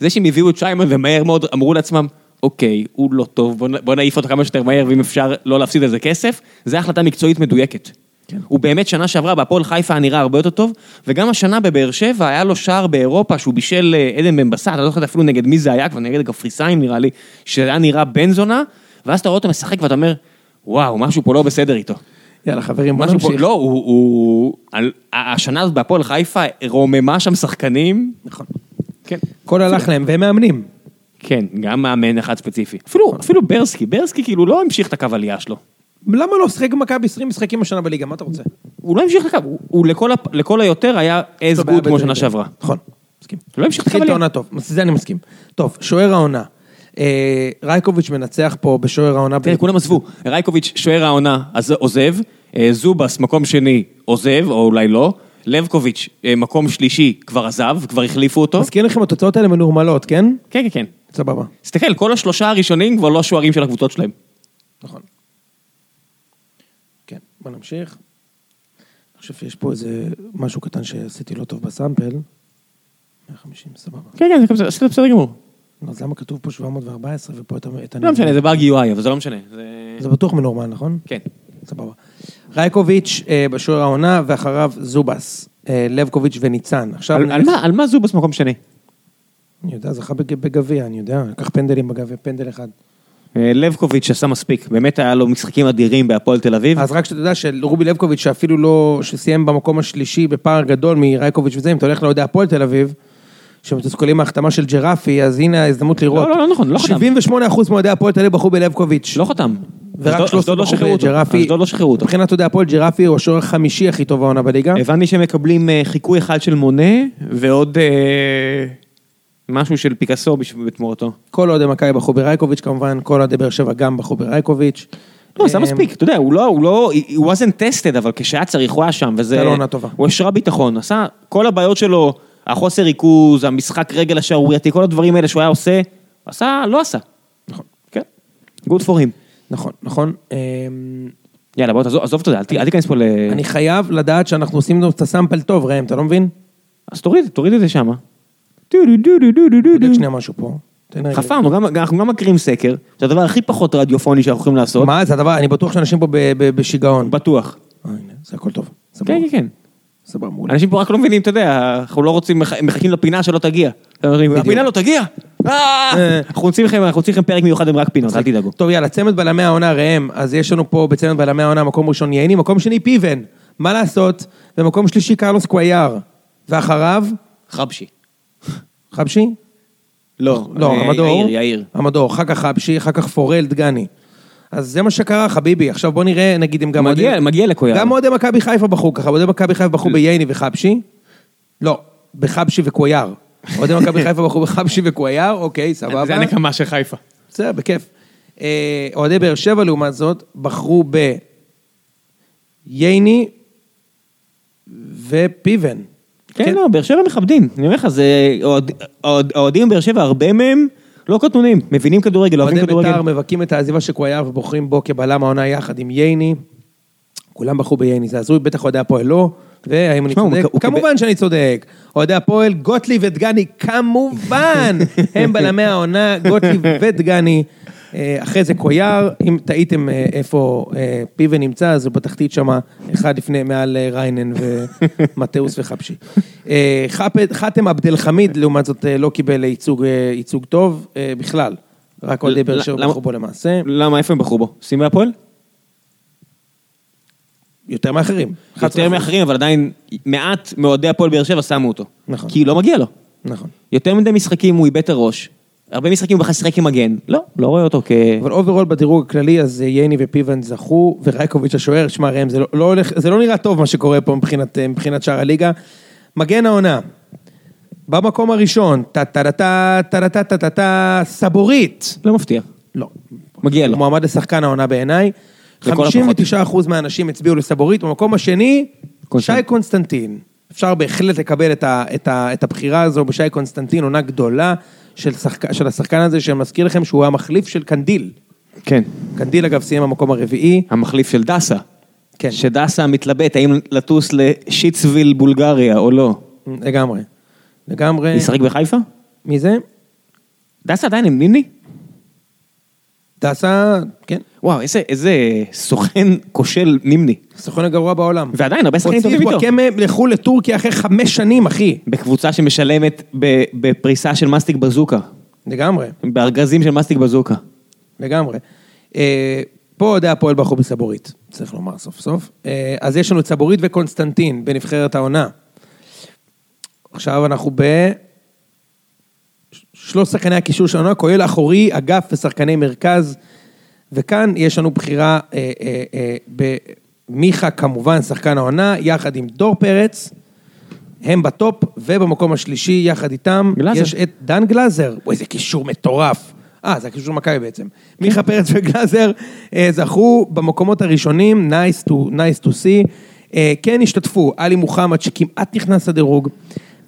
[SPEAKER 1] זה שהם הביאו את שיימן ומהר מאוד אמרו לעצמם, אוקיי, הוא לא טוב, בוא, נ- בוא נעיף אותו כמה שיותר מהר, ואם אפשר לא להפסיד על זה כסף, זו החלטה מקצועית מדויקת. כן. הוא באמת שנה שעברה בהפועל חיפה היה נראה הרבה יותר טוב, וגם השנה בבאר שבע היה לו שער באירופה שהוא בישל אה, עדן בן בסט, אני לא זוכר אפילו נגד מי זה היה, כבר נגד הקפריסאים נראה לי, שזה היה נראה בן זונה, ואז אתה רואה אותו משחק ואתה אומר, וואו, משהו פה לא בסדר איתו.
[SPEAKER 2] יאללה חברים, כן, בוא
[SPEAKER 1] משהו פה,
[SPEAKER 2] נמשיך.
[SPEAKER 1] לא, הוא, הוא, על- השנה הזאת בהפועל חיפה רוממה שם שחקנים.
[SPEAKER 2] נכון.
[SPEAKER 1] כן.
[SPEAKER 2] הכל הלך להם, והם מאמנים.
[SPEAKER 1] כן, גם מאמן אחד ספציפי. אפילו,
[SPEAKER 2] נכון.
[SPEAKER 1] אפילו ברסקי, ברסקי כאילו לא המשיך את הקו עלייה שלו.
[SPEAKER 2] למה לא? שחק במכבי 20 משחקים השנה בליגה, מה אתה רוצה?
[SPEAKER 1] הוא לא המשיך את הקו, הוא, הוא לכל, הפ- לכל היותר היה as good כמו שנה שעברה.
[SPEAKER 2] לא נכון, מסכים.
[SPEAKER 1] לא המשיך את
[SPEAKER 2] התחיל את
[SPEAKER 1] הקבליה.
[SPEAKER 2] העונה טוב, אז זה אני מסכים. טוב, שוער העונה. אה, רייקוביץ' מנצח פה בשוער העונה.
[SPEAKER 1] תראה, כן, כולם עזבו. רייקוביץ', שוער העונה, אז- עוזב. אה, זובס, מקום שני, עוזב, או אולי לא. לבקוביץ', אה, מקום שלישי, כבר עזב, כבר החליפו אותו.
[SPEAKER 2] מזכיר לכם, התוצאות האלה מנורמלות, כן?
[SPEAKER 1] כן, כן, כן.
[SPEAKER 2] סבבה.
[SPEAKER 1] תסתכל, כל השלושה הראשונים כבר לא השוערים של הקבוצות שלהם.
[SPEAKER 2] נכון. כן, בוא נמשיך. אני חושב שיש פה איזה משהו קטן שעשיתי לא טוב בסאמפל. 150, סבבה.
[SPEAKER 1] כן, כן, זה בסדר- זה בסדר גמור.
[SPEAKER 2] אז למה כתוב פה 714 ופה את ה... את
[SPEAKER 1] לא
[SPEAKER 2] הנ-
[SPEAKER 1] משנה, זה באג UI, אבל זה לא משנה. זה-
[SPEAKER 2] זה בטוח מנורמל, נכון?
[SPEAKER 1] כן.
[SPEAKER 2] סבבה. רייקוביץ' אה, בשוער העונה, ואחריו זובס, אה, לבקוביץ' וניצן. עכשיו...
[SPEAKER 1] על- על
[SPEAKER 2] נלך-
[SPEAKER 1] מה- על מה זובס מקום שני?
[SPEAKER 2] אני יודע, זכה בג- בגביע, אני יודע. לקח פנדלים בגביע, פנדל אחד.
[SPEAKER 1] אה, לבקוביץ' עשה מספיק, באמת היה לו משחקים אדירים בהפועל תל אביב.
[SPEAKER 2] אז רק שתדע שרובי לבקוביץ', שאפילו לא... שסיים במקום השלישי בפער גדול מרייקוביץ' וזה, אם אתה הולך לאוהדי הפועל תל אביב, שמתוסכלים מההחתמה של ג'רפי, אז הנה ההזדמנות לראות.
[SPEAKER 1] לא, לא נכון, לא חתם.
[SPEAKER 2] 78% מאוהדי הפועל תל אביב בחרו בלבקוביץ'.
[SPEAKER 1] לא חתם.
[SPEAKER 2] ורק
[SPEAKER 1] אשדוד-
[SPEAKER 2] 13
[SPEAKER 1] אשדוד לא
[SPEAKER 2] בחרו
[SPEAKER 1] שחררו אותו.
[SPEAKER 2] בג'רפי.
[SPEAKER 1] אשדוד לא שחררו אותו.
[SPEAKER 2] מבחינת אוהדי הפועל, ג'רפי הוא השוער החמישי הכי טוב העונה בליגה.
[SPEAKER 1] הבנתי שהם מקבלים אה, חיקוי אחד של מונה, ועוד אה, משהו של פיקאסו בשב- בתמורתו.
[SPEAKER 2] כל אוהדי מכבי בחרו ברייקוביץ' כמובן, כל אוהדי באר שבע גם בחרו ברייקוביץ'.
[SPEAKER 1] לא, זה
[SPEAKER 2] אה,
[SPEAKER 1] היה מספיק, אתה יודע, הוא לא, הוא לא, he wasn't tested, אבל כשהיה צריך הוא היה שם, וזה...
[SPEAKER 2] הייתה לו עונה טובה.
[SPEAKER 1] הוא השרה ביטחון, עשה, כל הבעיות שלו, החוסר ריכוז, המשחק רגל השערורייתי, כל הדברים האלה שהוא היה עושה, עשה, לא עשה.
[SPEAKER 2] נכון.
[SPEAKER 1] כן. Good for him.
[SPEAKER 2] נכון, נכון. אמ,
[SPEAKER 1] יאללה, בוא תעזוב, עזוב את זה, אל ת- אל תיכנס פה ל...
[SPEAKER 2] אני חייב לדעת שאנחנו עושים את הסאמפל טוב, ראם, אתה לא מבין?
[SPEAKER 1] אז תוריד, תוריד את זה שמה.
[SPEAKER 2] בודק שנייה משהו פה. תן רגע.
[SPEAKER 1] חפרנו, גם- אנחנו גם מקריאים סקר, זה הדבר הכי פחות רדיופוני שאנחנו יכולים לעשות.
[SPEAKER 2] מה זה הדבר, אני בטוח שאנשים פה ב- ב- בשיגעון.
[SPEAKER 1] בטוח.
[SPEAKER 2] אה, הנה, זה הכל טוב. סבבה,
[SPEAKER 1] כן, כן, כן.
[SPEAKER 2] סבבה, מעולה.
[SPEAKER 1] אנשים פה רק לא מבינים, אתה יודע, אנחנו לא רוצים, מח- מחכים לפינה שלא תגיע. אתם אומרים, הפינה לא תגיע! אה!
[SPEAKER 2] אה.
[SPEAKER 1] אנחנו רוצים לכם, אנחנו רוצים לכם פרק מיוחד עם רק פינות, אל תדאגו.
[SPEAKER 2] טוב, יאללה, צמד בלמי העונה, ראם, אז יש לנו פה בצמד בלמי העונה, מקום ראשון ייני, מקום שני פיבן, מה לעשות? ומקום שלישי קרלוס קוויאר, ואחריו,
[SPEAKER 1] חבשי.
[SPEAKER 2] חבשי?
[SPEAKER 1] לא,
[SPEAKER 2] לא,
[SPEAKER 1] אה,
[SPEAKER 2] המדור.
[SPEAKER 1] יאיר, יאיר.
[SPEAKER 2] המדור, אחר כך חבשי, אחר כך פורל, דגני. אז זה מה שקרה, חביבי. עכשיו בוא נראה, נגיד אם גם...
[SPEAKER 1] מגיע-
[SPEAKER 2] אוהדי-
[SPEAKER 1] מגיע לקויאר.
[SPEAKER 2] גם אוהדי מכבי חיפה בחרו ככה, אוהדי מכבי חיפה בחרו בייני וחבשי. לא, בחבשי וקוויאר. אוהדי
[SPEAKER 1] <laughs>
[SPEAKER 2] מכבי חיפה בחרו בחבשי וקוויאר, אוקיי, סבבה.
[SPEAKER 1] זה הנקמה של חיפה.
[SPEAKER 2] בסדר, בכיף. אה, אוהדי באר שבע, לעומת זאת, בחרו ב... ייני ופיבן.
[SPEAKER 1] כן, לא, באר שבע מכבדים. אני אומר לך, זה... אוהד- אוהד- האוהדים בבאר שבע, הרבה מהם לא קטנונים, מבינים כדורגל, אוהבים
[SPEAKER 2] אוהדי
[SPEAKER 1] כדורגל.
[SPEAKER 2] בית"ר מבכים את העזיבה של קוויאר ובוחרים בו כבלם העונה יחד עם ייני. כולם בחרו בייני, זה הזוי, בטח אוהדי הפועל לא. והאם אני
[SPEAKER 1] תשמע, הוא
[SPEAKER 2] צודק?
[SPEAKER 1] מקב- הוא
[SPEAKER 2] כמובן שאני צודק. אוהדי הפועל, גוטליב ודגני,
[SPEAKER 1] <laughs>
[SPEAKER 2] כמובן! הם בלמי העונה, גוטליב ודגני. אה, אחרי זה קויאר, אם טעיתם אה, איפה אה, פיבן נמצא, אז הוא בתחתית שמה, אחד לפני, מעל אה, ריינן ומטאוס וחבשי. אה, חאפ- חאתם עבד אל חמיד, לעומת זאת, אה, לא קיבל ייצוג, אה, ייצוג טוב אה, בכלל. רק אוהדי באר שבע
[SPEAKER 1] למה-
[SPEAKER 2] בחרו בו למעשה,
[SPEAKER 1] למה, איפה הם בחרו בו? סימי הפועל?
[SPEAKER 2] יותר מאחרים. 11%.
[SPEAKER 1] יותר מאחרים, אבל עדיין מעט מאוהדי הפועל באר שבע שמו אותו.
[SPEAKER 2] נכון.
[SPEAKER 1] כי לא מגיע לו.
[SPEAKER 2] נכון.
[SPEAKER 1] יותר מדי משחקים הוא איבד את הראש. הרבה משחקים הוא בכלל שיחק עם מגן. לא, לא רואה אותו כ...
[SPEAKER 2] אבל אוברול בדירוג הכללי, אז אה, ייני ופיבן זכו, ורייקוביץ' השוער, שמע ראם, זה לא, לא הולך, זה לא נראה טוב מה שקורה פה מבחינת, אה, מבחינת שאר הליגה. מגן העונה, במקום הראשון, טה טה טה טה טה טה טה טה טה סבורית.
[SPEAKER 1] לא מפתיע.
[SPEAKER 2] לא.
[SPEAKER 1] מגיע לו.
[SPEAKER 2] הוא מועמד לשחקן העונה בעיניי.
[SPEAKER 1] כן. לכל
[SPEAKER 2] 59% מהאנשים הצביעו לסבורית, במקום השני,
[SPEAKER 1] קונסטנטין.
[SPEAKER 2] שי קונסטנטין. אפשר בהחלט לקבל את, ה, את, ה, את הבחירה הזו בשי קונסטנטין, עונה גדולה של, שחק, של השחקן הזה, שמזכיר לכם שהוא המחליף של קנדיל.
[SPEAKER 1] כן.
[SPEAKER 2] קנדיל אגב סיים במקום הרביעי.
[SPEAKER 1] המחליף של דסה.
[SPEAKER 2] כן.
[SPEAKER 1] שדסה מתלבט האם לטוס לשיטסוויל בולגריה או לא.
[SPEAKER 2] לגמרי. לגמרי.
[SPEAKER 1] ישחק בחיפה?
[SPEAKER 2] מי זה?
[SPEAKER 1] דסה עדיין עם ניני?
[SPEAKER 2] דסה, כן.
[SPEAKER 1] וואו, איזה, איזה סוכן כושל נימני.
[SPEAKER 2] הסוכן הגרוע בעולם.
[SPEAKER 1] ועדיין, הרבה שחקנים
[SPEAKER 2] הוציא
[SPEAKER 1] טובים
[SPEAKER 2] את
[SPEAKER 1] איתו.
[SPEAKER 2] וואקמה לחו"ל לטורקיה אחרי חמש שנים, אחי.
[SPEAKER 1] בקבוצה שמשלמת ב- בפריסה של מסטיק בזוקה.
[SPEAKER 2] לגמרי,
[SPEAKER 1] בארגזים של מסטיק בזוקה.
[SPEAKER 2] לגמרי. אה, פה אוהדי הפועל בחרו בסבורית, צריך לומר סוף סוף. אה, אז יש לנו את סבורית וקונסטנטין בנבחרת העונה. עכשיו אנחנו ב... שלוש שחקני הקישור של העונה, כולל אחורי, אגף ושחקני מרכז. וכאן יש לנו בחירה אה, אה, אה, במיכה, כמובן, שחקן העונה, יחד עם דור פרץ. הם בטופ, ובמקום השלישי, יחד איתם,
[SPEAKER 1] גלאזר.
[SPEAKER 2] יש את דן גלאזר. אוי, זה קישור מטורף. אה, זה הקישור מכבי בעצם. מיכה פרץ וגלאזר אה, זכו במקומות הראשונים, nice to, nice to see. אה, כן השתתפו, עלי מוחמד, שכמעט נכנס לדירוג,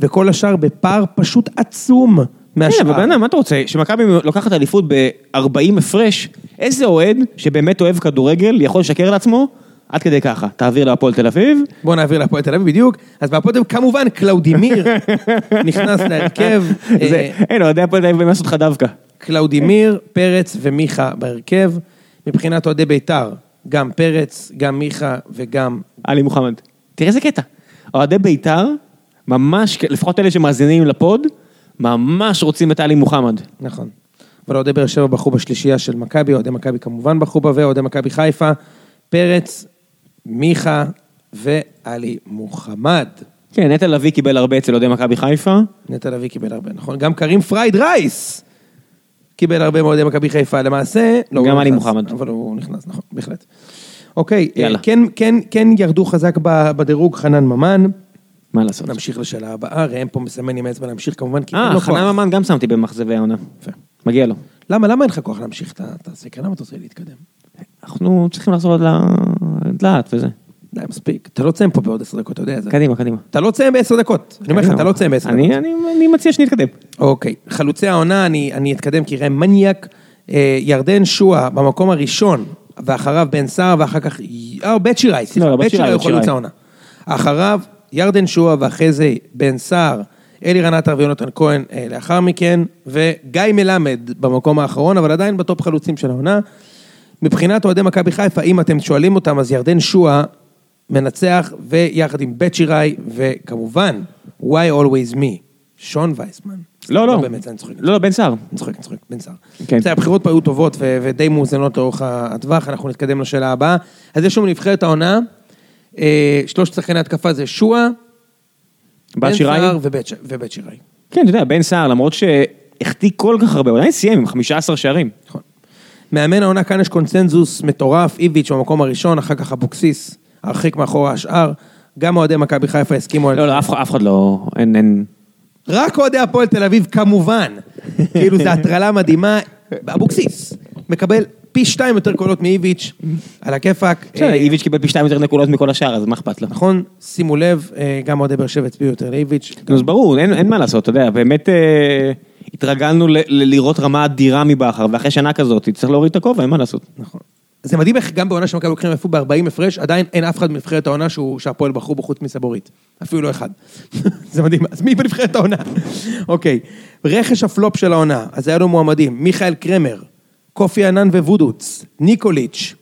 [SPEAKER 2] וכל השאר בפער פשוט עצום
[SPEAKER 1] כן,
[SPEAKER 2] מהשאר.
[SPEAKER 1] אבל בן אדם, מה אתה רוצה? שמכבי לוקחת אליפות ב-40 הפרש, איזה אוהד שבאמת אוהב כדורגל יכול לשקר לעצמו עד כדי ככה. תעביר להפועל תל אביב,
[SPEAKER 2] בואו נעביר להפועל תל אביב בדיוק. אז בהפועל תל אביב כמובן קלאודימיר נכנס להרכב.
[SPEAKER 1] <laughs> זה,
[SPEAKER 2] אה,
[SPEAKER 1] אין, אוהדי הפועל תל אביב באים לעשות לך דווקא.
[SPEAKER 2] קלאודימיר, פרץ ומיכה בהרכב. מבחינת אוהדי בית"ר, גם פרץ, גם מיכה וגם...
[SPEAKER 1] עלי מוחמד. תראה איזה קטע. אוהדי בית"ר, ממש, לפחות אלה שמאזינים לפוד, ממש רוצים את עלי מוחמד.
[SPEAKER 2] נכון. אבל אוהדי באר שבע בחרו בשלישייה של מכבי, אוהדי מכבי כמובן בחרו בה, ואוהדי מכבי חיפה, פרץ, מיכה ועלי מוחמד.
[SPEAKER 1] כן, נטע לביא קיבל הרבה אצל אוהדי מכבי חיפה.
[SPEAKER 2] נטע לביא קיבל הרבה, נכון? גם קרים פרייד רייס קיבל הרבה מאוהדי מכבי חיפה, למעשה... לא, הוא
[SPEAKER 1] גם
[SPEAKER 2] לא
[SPEAKER 1] עלי
[SPEAKER 2] נכנס,
[SPEAKER 1] מוחמד.
[SPEAKER 2] אבל הוא נכנס, נכון, בהחלט. אוקיי,
[SPEAKER 1] יאללה.
[SPEAKER 2] אה, כן, כן, כן ירדו חזק ב- בדירוג חנן ממן.
[SPEAKER 1] מה לעשות?
[SPEAKER 2] נמשיך לשאלה הבאה, ראם פה מסמן עם האצבע להמשיך כמובן, כי אין
[SPEAKER 1] אה,
[SPEAKER 2] לו כוח.
[SPEAKER 1] חנן ממן גם שמתי במאכזבי העונה.
[SPEAKER 2] יפה.
[SPEAKER 1] מגיע לו.
[SPEAKER 2] למה, למה אין לך כוח להמשיך את ה- את הסקר? למה אתה רוצה להתקדם?
[SPEAKER 1] אנחנו צריכים לחזור עוד ל- לאט וזה.
[SPEAKER 2] די, מספיק. אתה לא תסיים פה בעוד עשר דקות, אתה יודע את זה.
[SPEAKER 1] קדימה, קדימה.
[SPEAKER 2] אתה לא תסיים בעשר דקות. אני אומר לך, אתה לא תסיים בעשר דקות.
[SPEAKER 1] כן, אני, אני, אני מציע שנתקדם.
[SPEAKER 2] אוקיי. חלוצי העונה, אני אני אתקדם כי ראם מניאק. אה, ירדן שואה במקום הראשון, ואחריו בן סער, ואחר כך... אה, בית שיראי, סליחה.
[SPEAKER 1] לא, לא, בית שיראי,
[SPEAKER 2] הוא
[SPEAKER 1] בית שיראי.
[SPEAKER 2] חלוץ העונה. אחריו, ירדן שואה, ואחרי זה בן סער, אלירן עטר ויונתן כהן אה, לאחר מכן, וגיא מלמד במקום האחרון, אבל עדיין בטופ חלוצים של העונה. מבחינת אוהדי מכבי חיפה, אם אתם שואלים אותם, אז ירדן שואה מנצח, ויחד עם בית שיראי, וכמובן, why always me, שון וייסמן.
[SPEAKER 1] לא, לא.
[SPEAKER 2] באמת, אני צוחק.
[SPEAKER 1] לא, לא, בן סער.
[SPEAKER 2] אני צוחק, אני צוחק, בן סער.
[SPEAKER 1] כן.
[SPEAKER 2] בסדר, הבחירות פה היו טובות ו- ודי מאוזנות לאורך הטווח, אנחנו נתקדם לשאלה הבאה. אז יש לנו נבחרת העונה, אה, שלושת שחקני התקפה זה שואה,
[SPEAKER 1] בר
[SPEAKER 2] בן
[SPEAKER 1] שיראי.
[SPEAKER 2] סער ובית ש- ובית שיראי.
[SPEAKER 1] כן, אתה יודע, בן סער, למרות שהחטיא כל כך הרבה, הוא עדיין סיים עם 15 שערים.
[SPEAKER 2] נכון. מאמן העונה, כאן יש קונצנזוס מטורף, איביץ' במקום הראשון, אחר כך אבוקסיס, הרחיק מאחורי השאר. גם אוהדי מכבי חיפה הסכימו על...
[SPEAKER 1] לא, לא, אף אחד- אף אחד לא... אין, אין...
[SPEAKER 2] רק אוהדי הפועל תל אביב, כמובן. כאילו, זו הטרלה מדהימה. אבוקסיס מקבל פי שתיים יותר קולות מאיביץ', על הכיפאק.
[SPEAKER 1] בסדר,
[SPEAKER 2] אה,
[SPEAKER 1] איביץ' קיבל פי שתיים יותר נקודות מכל השאר, אז מה אכפת לו?
[SPEAKER 2] נכון? שימו לב, אה, גם אוהדי באר שבע הצביעו יותר לאיביץ'.
[SPEAKER 1] נו, אז ברור, אין, אין מה לעשות, אתה יודע, באמת אה, התרגלנו ל, ל, לראות רמה אדירה מבכר, ואחרי שנה כזאת, צריך להוריד את הכובע, אין מה לעשות.
[SPEAKER 2] נכון. זה מדהים איך גם בעונה שמכבי לוקחים אליפות ב-40 הפרש, עדיין אין אף אחד מנבחרת העונה שהוא- שהפועל בחרו בו חוץ מסבורית. אפילו לא אחד. <laughs> זה מדהים. אז מי בנבחרת העונה? <laughs> אוקיי. רכש הפלופ של העונה, אז היה לו מועמדים. מיכאל קרמר, קופי ענן וודוץ, ניקוליץ',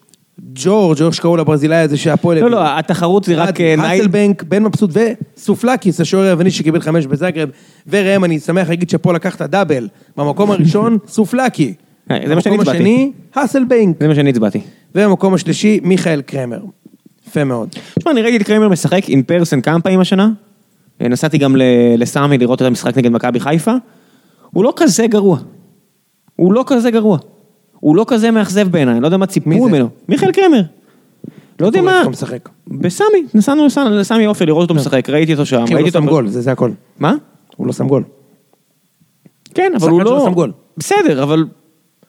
[SPEAKER 2] ג'ורג' או איך שקראו לברזילאי הזה שהפועל...
[SPEAKER 1] לא,
[SPEAKER 2] הביא.
[SPEAKER 1] לא, התחרות זה רק... אה, נייל-
[SPEAKER 2] האסלבנק, בן מבסוט וסופלקיס, השוער היווני שקיבל חמש בזאגרב. וראם, אני שמח להגיד שפה לקחת דאבל. במקום
[SPEAKER 1] <laughs>
[SPEAKER 2] הראשון, סופלקי.
[SPEAKER 1] אה, זה מה שאני הצבעתי.
[SPEAKER 2] במקום השני, האסלבנק.
[SPEAKER 1] זה מה שאני הצבעתי.
[SPEAKER 2] ובמקום השלישי, מיכאל קרמר. יפה מאוד.
[SPEAKER 1] תשמע, אני ראיתי את קרמר משחק אין פרסן כמה פעמים השנה. אה, נסעתי גם ל- לסמי לראות את המשחק נגד מכבי חיפה. הוא לא כזה גרוע. הוא לא כזה גרוע. הוא לא כזה מאכזב בעיניי, אני לא יודע מה ציפו
[SPEAKER 2] מי זה?
[SPEAKER 1] ממנו. מיכאל קרמר. לא יודע
[SPEAKER 2] קורא
[SPEAKER 1] מה.
[SPEAKER 2] איך הוא משחק. כן.
[SPEAKER 1] בסמי, נסענו לס- לסמי עופר לראות אותו משחק, ראיתי אותו שם.
[SPEAKER 2] אחי, הוא לא
[SPEAKER 1] ראיתי
[SPEAKER 2] שם
[SPEAKER 1] אותו-
[SPEAKER 2] גול, זה זה הכל.
[SPEAKER 1] מה?
[SPEAKER 2] הוא לא שם גול.
[SPEAKER 1] כן, אבל
[SPEAKER 2] שחקן
[SPEAKER 1] הוא
[SPEAKER 2] שלא
[SPEAKER 1] לא...
[SPEAKER 2] שם גול.
[SPEAKER 1] בסדר, אבל...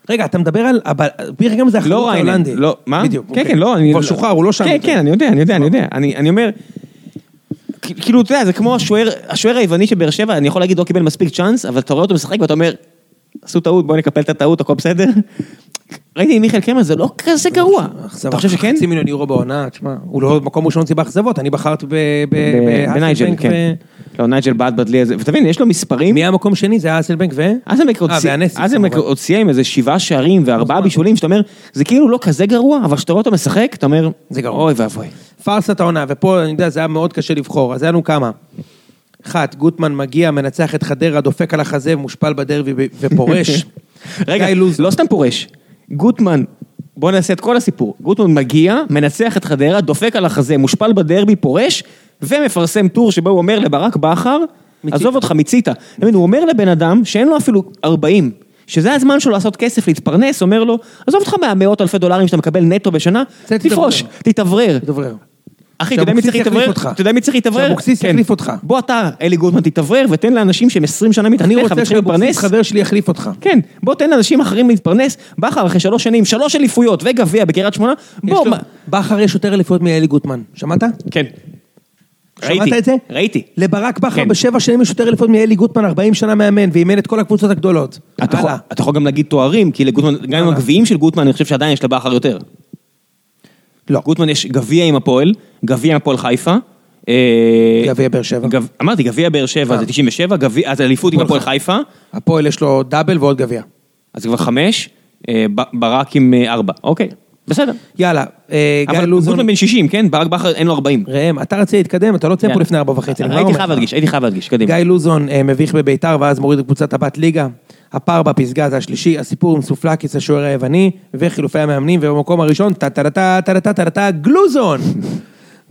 [SPEAKER 2] רגע, אתה מדבר על... אבל- בירי גם זה
[SPEAKER 1] לא
[SPEAKER 2] החלוץ
[SPEAKER 1] ריינן.
[SPEAKER 2] ההולנדי.
[SPEAKER 1] לא, מה?
[SPEAKER 2] בדיוק.
[SPEAKER 1] כן,
[SPEAKER 2] אוקיי.
[SPEAKER 1] כן, לא, אני...
[SPEAKER 2] כבר שוחרר, הוא לא שם. אוקיי.
[SPEAKER 1] כן, כן, אני יודע, אני יודע, אני יודע. אני אני אומר... כ- כאילו, אתה יודע, זה כמו השוער, השוער היווני של באר שבע, אני יכול להגיד, לא קיבל מספיק צ'אנס, אבל אתה רואה אותו משחק ואתה אומר, עשו טעות, בואו נקפל את הטעות, הכל בסדר. ראיתי עם מיכאל קרמר, זה לא כזה גרוע.
[SPEAKER 2] אכזבה.
[SPEAKER 1] אתה חושב שכן?
[SPEAKER 2] חצי מיליון יורו בעונה, תשמע, הוא לא מקום ראשון אצלי באכזבות, אני בחרתי ב... ב- באסלבנק
[SPEAKER 1] בנייג'ל, כן.
[SPEAKER 2] אה, ו-
[SPEAKER 1] לא, נייג'ל בעד בדלי הזה, ותבין, יש לו מספרים.
[SPEAKER 2] מי היה מקום שני? זה היה אסלבנק ו...
[SPEAKER 1] אזנבק עוד
[SPEAKER 2] אה,
[SPEAKER 1] סי-
[SPEAKER 2] והנסיק,
[SPEAKER 1] אזנבק
[SPEAKER 2] כמובן. נכון.
[SPEAKER 1] עוד סיים עם איזה שבעה שערים וארבעה בישולים, שאתה אומר, זה כאילו לא כזה גרוע, אבל כשאתה רואה אותו משחק, אתה אומר,
[SPEAKER 2] זה גרוע.
[SPEAKER 1] אוי ואבוי.
[SPEAKER 2] פארסת העונה, ופה אני יודע, זה היה מאוד קשה לבחור, אז היה לנו כמה. אחת, גוטמן מגיע, מנצח את חדרה, דופק על החזה, מושפל בדרבי ו- <laughs> ופורש.
[SPEAKER 1] רגע,
[SPEAKER 2] גיא לוז-
[SPEAKER 1] לא סתם פורש. גוטמן, בוא נעשה את כל הסיפור. גוטמן מגיע, מנצח את חדרה, דופק על החזה, מושפל בדרבי, פורש, ומפרסם טור שבו הוא אומר לברק בכר,
[SPEAKER 2] מיצית.
[SPEAKER 1] עזוב אותך, מיצית. אתה מבין, הוא אומר לבן אדם שאין לו אפילו 40, שזה הזמן שלו לעשות כסף, להתפרנס, אומר לו, עזוב אותך מהמאות אלפי דולרים שאתה מקבל נטו בשנה,
[SPEAKER 2] צא, תתאוורר."
[SPEAKER 1] תפרוש, תתאוורר.
[SPEAKER 2] דוברר.
[SPEAKER 1] אחי, אתה יודע מי צריך
[SPEAKER 2] שאבוקסיס
[SPEAKER 1] להתאוורר?
[SPEAKER 2] יחליף אותך.
[SPEAKER 1] אתה יודע מי צריך להתאוורר?
[SPEAKER 2] שאבוקסיס
[SPEAKER 1] כן.
[SPEAKER 2] יחליף אותך.
[SPEAKER 1] בוא אתה, אלי גוטמן, תתאוורר ותן לאנשים שהם 20 שנה
[SPEAKER 2] אני
[SPEAKER 1] מתחתיך
[SPEAKER 2] רוצה
[SPEAKER 1] וצריכים
[SPEAKER 2] שאבוקסיס
[SPEAKER 1] להתפרנס.
[SPEAKER 2] חבר שלי יחליף אותך.
[SPEAKER 1] כן, בוא תן לאנשים אחרים להתפרנס. בכר אחרי שלוש שנים, שלוש אליפויות וגביע בקריית שמונה,
[SPEAKER 2] יש
[SPEAKER 1] בוא...
[SPEAKER 2] לו-
[SPEAKER 1] מה-
[SPEAKER 2] בכר יש יותר אליפויות מאלי גוטמן, שמעת?
[SPEAKER 1] כן.
[SPEAKER 2] שמעת את זה?
[SPEAKER 1] ראיתי.
[SPEAKER 2] לברק בכר
[SPEAKER 1] כן.
[SPEAKER 2] בשבע שנים יש יותר אליפות מאלי גוטמן, 40 שנה מאמן, ואימן את כל הקבוצות הגדולות.
[SPEAKER 1] אתה יכול-
[SPEAKER 2] הלאה.
[SPEAKER 1] אתה יכול גם להגיד תוארים, כי לגוטמן, גם עם
[SPEAKER 2] הלאה.
[SPEAKER 1] הגביעים של גוטמן, אני חושב שעדיין יש לבכר יותר.
[SPEAKER 2] לא.
[SPEAKER 1] גוטמן יש גביע עם הפועל, גביע עם הפועל חיפה. אה,
[SPEAKER 2] גביע באר שבע.
[SPEAKER 1] גב- אמרתי, גביע באר שבע
[SPEAKER 2] אה.
[SPEAKER 1] זה 97, גביע- אז אליפות עם
[SPEAKER 2] הפועל
[SPEAKER 1] הפועל חיפה.
[SPEAKER 2] הפועל יש לו דאבל ועוד גביע.
[SPEAKER 1] אז זה כבר חמש, אה, ב- ברק עם אה, ארבע, אוקיי, בסדר.
[SPEAKER 2] יאללה, אה, גיא
[SPEAKER 1] אבל
[SPEAKER 2] לוזון,
[SPEAKER 1] גוטמן בן 60, כן? ברק בכר אין לו 40.
[SPEAKER 2] ראם, אתה רצית להתקדם, אתה לא תהיה פה לפני ארבע וחצי. אני כבר
[SPEAKER 1] הייתי
[SPEAKER 2] אומר
[SPEAKER 1] חייב
[SPEAKER 2] לך.
[SPEAKER 1] להדגיש, הייתי חייב להדגיש, קדימה.
[SPEAKER 2] גיא לוזון אה, מביך בביתר ואז מוריד את קבוצת הבת ליגה. הפער בפסגה זה השלישי, הסיפור עם סופלקיס השוער היווני וחילופי המאמנים ובמקום הראשון טה טה טה טה טה טה טה גלוזון.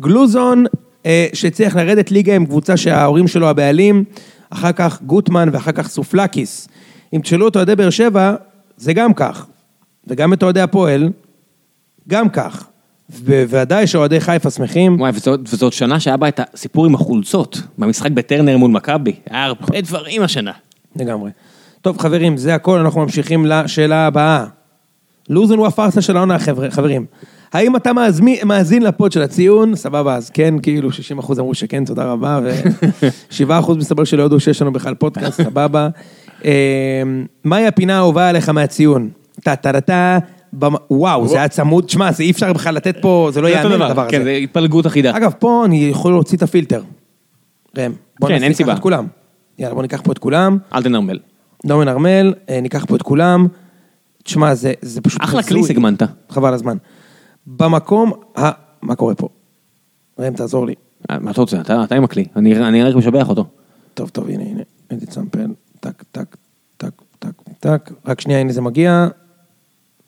[SPEAKER 2] גלוזון אה, שהצליח לרדת ליגה עם קבוצה שההורים שלו הבעלים, אחר כך גוטמן ואחר כך סופלקיס. אם תשאלו את אוהדי באר שבע, זה גם כך. וגם את אוהדי הפועל, גם כך. בוודאי שאוהדי חיפה שמחים.
[SPEAKER 1] וואי, וזאת, וזאת שנה שהיה בה את הסיפור עם החולצות, במשחק בטרנר מול מכבי. היה הרבה דברים השנה.
[SPEAKER 2] לגמרי. טוב, חברים, זה הכל, אנחנו ממשיכים לשאלה הבאה. לוזון הוא הפארסה של העונה, חבר'ה- חברים. האם אתה מאזמי- מאזין לפוד של הציון? סבבה, אז כן, כאילו 60% אמרו שכן, תודה רבה,
[SPEAKER 1] <laughs>
[SPEAKER 2] ו-7% מסתבר שלא ידעו שיש לנו בכלל פודקאסט, סבבה. אה, מהי הפינה האהובה עליך מהציון? טה טה טה טה, במ- וואו, זה היה צמוד, שמע, זה אי אפשר בכלל לתת פה, זה לא
[SPEAKER 1] זה אותו
[SPEAKER 2] יאמן הדבר
[SPEAKER 1] כן, זה
[SPEAKER 2] הזה.
[SPEAKER 1] התפלגות אחידה.
[SPEAKER 2] אגב, פה אני יכול להוציא את הפילטר. ראם, בוא
[SPEAKER 1] כן,
[SPEAKER 2] ננסה
[SPEAKER 1] אין
[SPEAKER 2] לקחת
[SPEAKER 1] סיבה.
[SPEAKER 2] את כולם. יאללה, בוא ניקח פה את כולם.
[SPEAKER 1] אל תנרמל.
[SPEAKER 2] נעמי נרמל, אה, ניקח פה את כולם. תשמע, זה, זה פשוט...
[SPEAKER 1] אחלה
[SPEAKER 2] הזוי.
[SPEAKER 1] כלי סגמנת.
[SPEAKER 2] חבל הזמן. במקום ה... מה קורה פה? ראם, תעזור לי.
[SPEAKER 1] אה, מה אתה רוצה? אתה, אתה עם הכלי. אני, אני רק משבח אותו.
[SPEAKER 2] טוב, טוב, הנה, הנה. הייתי צמפל. טק, טק, טק, טק, טק. רק שנייה, הנה זה מגיע.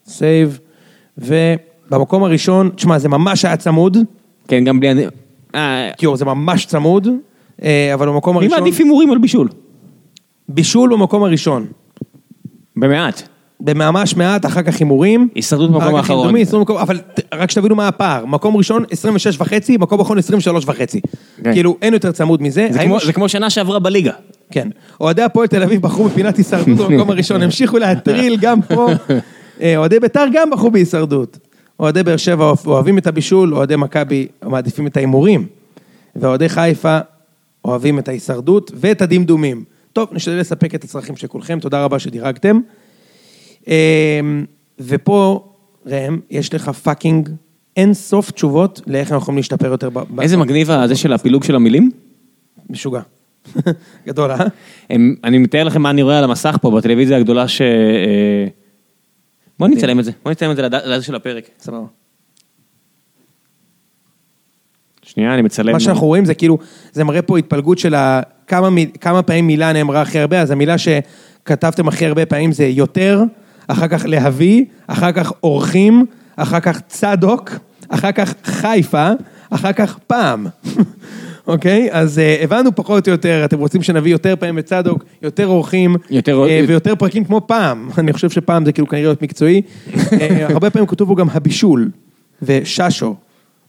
[SPEAKER 2] סייב. ובמקום הראשון, תשמע, זה ממש היה צמוד.
[SPEAKER 1] כן, גם בלי... אני- אה,
[SPEAKER 2] יואו, זה ממש צמוד. אה, אבל במקום
[SPEAKER 1] מי
[SPEAKER 2] הראשון...
[SPEAKER 1] מעדיף הימורים על בישול?
[SPEAKER 2] בישול במקום הראשון.
[SPEAKER 1] במעט.
[SPEAKER 2] בממש מעט, אחר כך הימורים.
[SPEAKER 1] הישרדות במקום
[SPEAKER 2] אחר כך
[SPEAKER 1] האחרון.
[SPEAKER 2] אינדומי, עשרים במקום- אבל ת- רק שתבינו מה הפער. מקום ראשון, 26 וחצי, מקום אחרון, 23 וחצי.
[SPEAKER 1] כן.
[SPEAKER 2] כאילו, אין יותר צמוד מזה.
[SPEAKER 1] זה
[SPEAKER 2] האם
[SPEAKER 1] כמו-
[SPEAKER 2] יש-
[SPEAKER 1] זה כמו שנה שעברה בליגה.
[SPEAKER 2] כן. אוהדי הפועל תל אביב בחרו בפינת הישרדות במקום הראשון, המשיכו להטריל גם פה. אה, אוהדי בית"ר גם בחרו בהישרדות. אוהדי באר שבע אוהב- אוהבים את הבישול, אוהדי מכבי מעדיפים את ההימורים. ואוהדי חיפה אוהבים את ההישרדות ואת הדמדומים. טוב, נשתדל לספק את הצרכים של כולכם, תודה רבה שדירגתם. אה, אמ, ופה ראם, יש לך פאקינג אין סוף תשובות לאיך אנחנו יכולים להשתפר יותר ב... ב-
[SPEAKER 1] איזה מגניב הזה של הפילוג של המילים.
[SPEAKER 2] משוגע. <laughs> גדול, אה?
[SPEAKER 1] הם, אני מתאר לכם מה אני רואה על המסך פה בטלוויזיה הגדולה ש... אה, בוא נצלם את זה, בוא נצלם את זה לד- לזה של הפרק.
[SPEAKER 2] סבבה.
[SPEAKER 1] שנייה, אני מצלם.
[SPEAKER 2] מה שאנחנו רואים זה כאילו, זה מראה פה התפלגות של ה... כמה, מי- כמה פעמים מילה נאמרה הכי הרבה, אז המילה שכתבתם הכי הרבה פעמים זה יותר, אחר כך להביא, אחר כך אורחים, אחר כך צדוק, אחר כך חיפה, אחר כך פעם. <laughs> אוקיי? אז uh, הבנו פחות או יותר, אתם רוצים שנביא יותר פעמים את צדוק, יותר אורחים,
[SPEAKER 1] יותר-
[SPEAKER 2] אה, ויותר פרקים כמו פעם. <laughs> אני חושב שפעם זה כאילו כנראה להיות מקצועי.
[SPEAKER 1] <laughs>
[SPEAKER 2] אה, הרבה פעמים כתוב בו גם הבישול, וששו,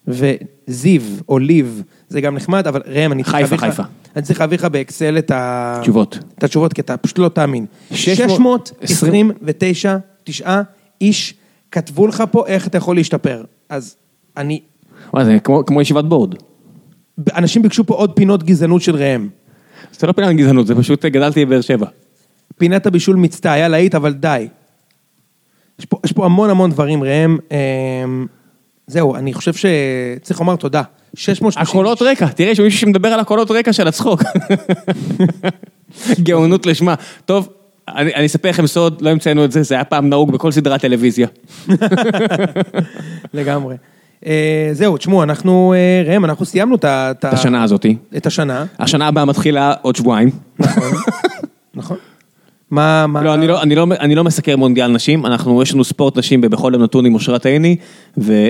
[SPEAKER 2] וזיו, או ליב, זה גם נחמד, אבל ראם, אני צריך
[SPEAKER 1] חיפה,
[SPEAKER 2] להביא לך...
[SPEAKER 1] חיפה.
[SPEAKER 2] אני צריך להביא לך באקסל את ה...
[SPEAKER 1] תשובות.
[SPEAKER 2] את התשובות, כי אתה פשוט לא תאמין. 629, 9 איש כתבו לך פה איך אתה יכול להשתפר. אז אני...
[SPEAKER 1] וואי, זה כמו, כמו ישיבת בורד.
[SPEAKER 2] אנשים ביקשו פה עוד פינות גזענות של ראם.
[SPEAKER 1] אז זה לא פינה גזענות, זה פשוט אה, גדלתי בבאר שבע.
[SPEAKER 2] פינת הבישול מיצתה, היה להיט, אבל די. יש פה, יש פה המון המון דברים, ראם. אמ, זהו, אני חושב שצריך לומר תודה. 630...
[SPEAKER 1] הקולות רקע, תראה, יש מישהו שמדבר על הקולות רקע של
[SPEAKER 2] <laughs>
[SPEAKER 1] הצחוק. גאונות לשמה. טוב, אני, אני אספר לכם סוד, לא המצאנו את זה, זה היה פעם נהוג בכל סדרת טלוויזיה.
[SPEAKER 2] אה. לגמרי. אה, זהו, תשמעו, אנחנו, אה, ראם, אנחנו סיימנו את ה-
[SPEAKER 1] את השנה הזאתי.
[SPEAKER 2] את השנה,
[SPEAKER 1] השנה הבאה מתחילה עוד שבועיים.
[SPEAKER 2] נכון? מה, מה...
[SPEAKER 1] לא, אני לא, אני, לא, אני לא מסקר מונדיאל נשים, אנחנו, יש לנו ספורט נשים בבכל יום נתון עם אושרת עיני, ו, אה,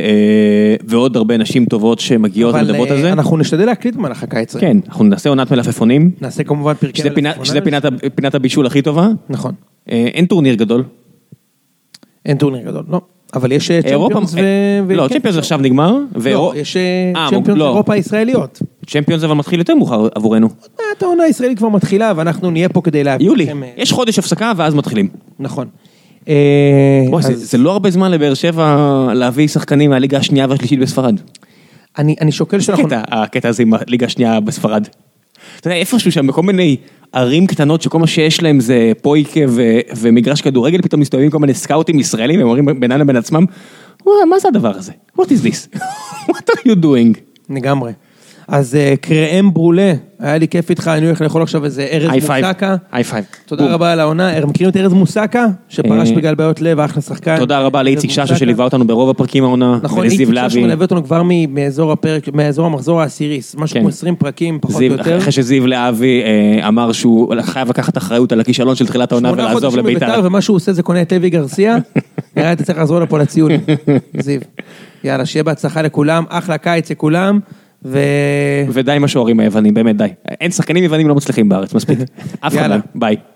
[SPEAKER 1] ועוד הרבה נשים טובות שמגיעות
[SPEAKER 2] אבל,
[SPEAKER 1] ומדברות
[SPEAKER 2] אה,
[SPEAKER 1] על זה.
[SPEAKER 2] אנחנו נשתדל להקליט במהלך הקיץ. ראם.
[SPEAKER 1] כן, אנחנו נעשה עונת מלפפונים,
[SPEAKER 2] נעשה כמובן פרקי...
[SPEAKER 1] שזה, פינה,
[SPEAKER 2] מלפפונים.
[SPEAKER 1] שזה פינת, ה- פינת הבישול הכי טובה.
[SPEAKER 2] נכון.
[SPEAKER 1] אה, אין טורניר גדול.
[SPEAKER 2] אה, אין טורניר גדול, לא. אבל יש אה,
[SPEAKER 1] אירופה...
[SPEAKER 2] צ'מפיונס ו... ו-
[SPEAKER 1] לא,
[SPEAKER 2] כן.
[SPEAKER 1] צ'מפיונס עכשיו נגמר.
[SPEAKER 2] לא,
[SPEAKER 1] ואירו-
[SPEAKER 2] יש אה,
[SPEAKER 1] אה,
[SPEAKER 2] צ'מפיונס
[SPEAKER 1] לא.
[SPEAKER 2] אירופה הישראליות.
[SPEAKER 1] צ'מפיונס אבל מתחיל יותר מאוחר עבורנו.
[SPEAKER 2] אה, את העונה הישראלית כבר מתחילה, ואנחנו נהיה פה כדי להביא
[SPEAKER 1] יולי,
[SPEAKER 2] לכם, אה,
[SPEAKER 1] יש חודש הפסקה ואז מתחילים.
[SPEAKER 2] נכון. אה,
[SPEAKER 1] וואי, זה-
[SPEAKER 2] אז
[SPEAKER 1] זה לא הרבה זמן לבאר שבע להביא שחקנים מהליגה השנייה והשלישית בספרד.
[SPEAKER 2] אני אני שוקל שאנחנו...
[SPEAKER 1] הקטע, הקטע הזה עם הליגה השנייה בספרד. אתה יודע, איפשהו שם בכל מיני ערים קטנות שכל מה שיש להם זה פויקה ו- ומגרש כדורגל, פתאום מסתובבים כל מיני סקאוטים ישראלים, הם אומרים בינם לבין עצמם, "וואי, מה זה הדבר הזה? What is this? <laughs> What are you doing?
[SPEAKER 2] לגמרי. אז אה, קראם ברולה, היה לי כיף איתך, אני הולך לאכול עכשיו איזה ארז
[SPEAKER 1] היי פייב.
[SPEAKER 2] מוסקה.
[SPEAKER 1] היי פייב. בום.
[SPEAKER 2] תודה רבה על העונה. אה, מכירים את ארז מוסקה? שפרש
[SPEAKER 1] אה,
[SPEAKER 2] בגלל בעיות לב, אחלה שחקן.
[SPEAKER 1] תודה רבה
[SPEAKER 2] ארז
[SPEAKER 1] לאיציק ששו
[SPEAKER 2] מוסקה.
[SPEAKER 1] שליווה אותנו ברוב הפרקים העונה,
[SPEAKER 2] נכון, איציק
[SPEAKER 1] ולזיו
[SPEAKER 2] ששו
[SPEAKER 1] להבי.
[SPEAKER 2] מלווה אותנו כבר מ- מאזור הפרק, מאזור המחזור העשירי, משהו
[SPEAKER 1] כן.
[SPEAKER 2] כמו 20 פרקים, פחות או
[SPEAKER 1] זיו,
[SPEAKER 2] יותר.
[SPEAKER 1] אחרי שזיו להבי אה, אמר שהוא חייב לקחת אחריות על הכישלון של תחילת העונה
[SPEAKER 2] שמונה
[SPEAKER 1] ולעזוב
[SPEAKER 2] חודשים
[SPEAKER 1] לביתר.
[SPEAKER 2] בביתר, ומה שהוא עושה זה קונה את לוי
[SPEAKER 1] <laughs>
[SPEAKER 2] גרסיה. נראה לי אתה צריך לעזור לו פה לציון, זיו. יאללה, שיהיה בהצלחה לכולם, אחלה קיץ לכולם, ו... <laughs>
[SPEAKER 1] ודי עם השוערים היוונים, באמת די. אין שחקנים יוונים לא מצליחים בארץ, מספיק. אף אחד
[SPEAKER 2] יאללה.
[SPEAKER 1] לא, ביי.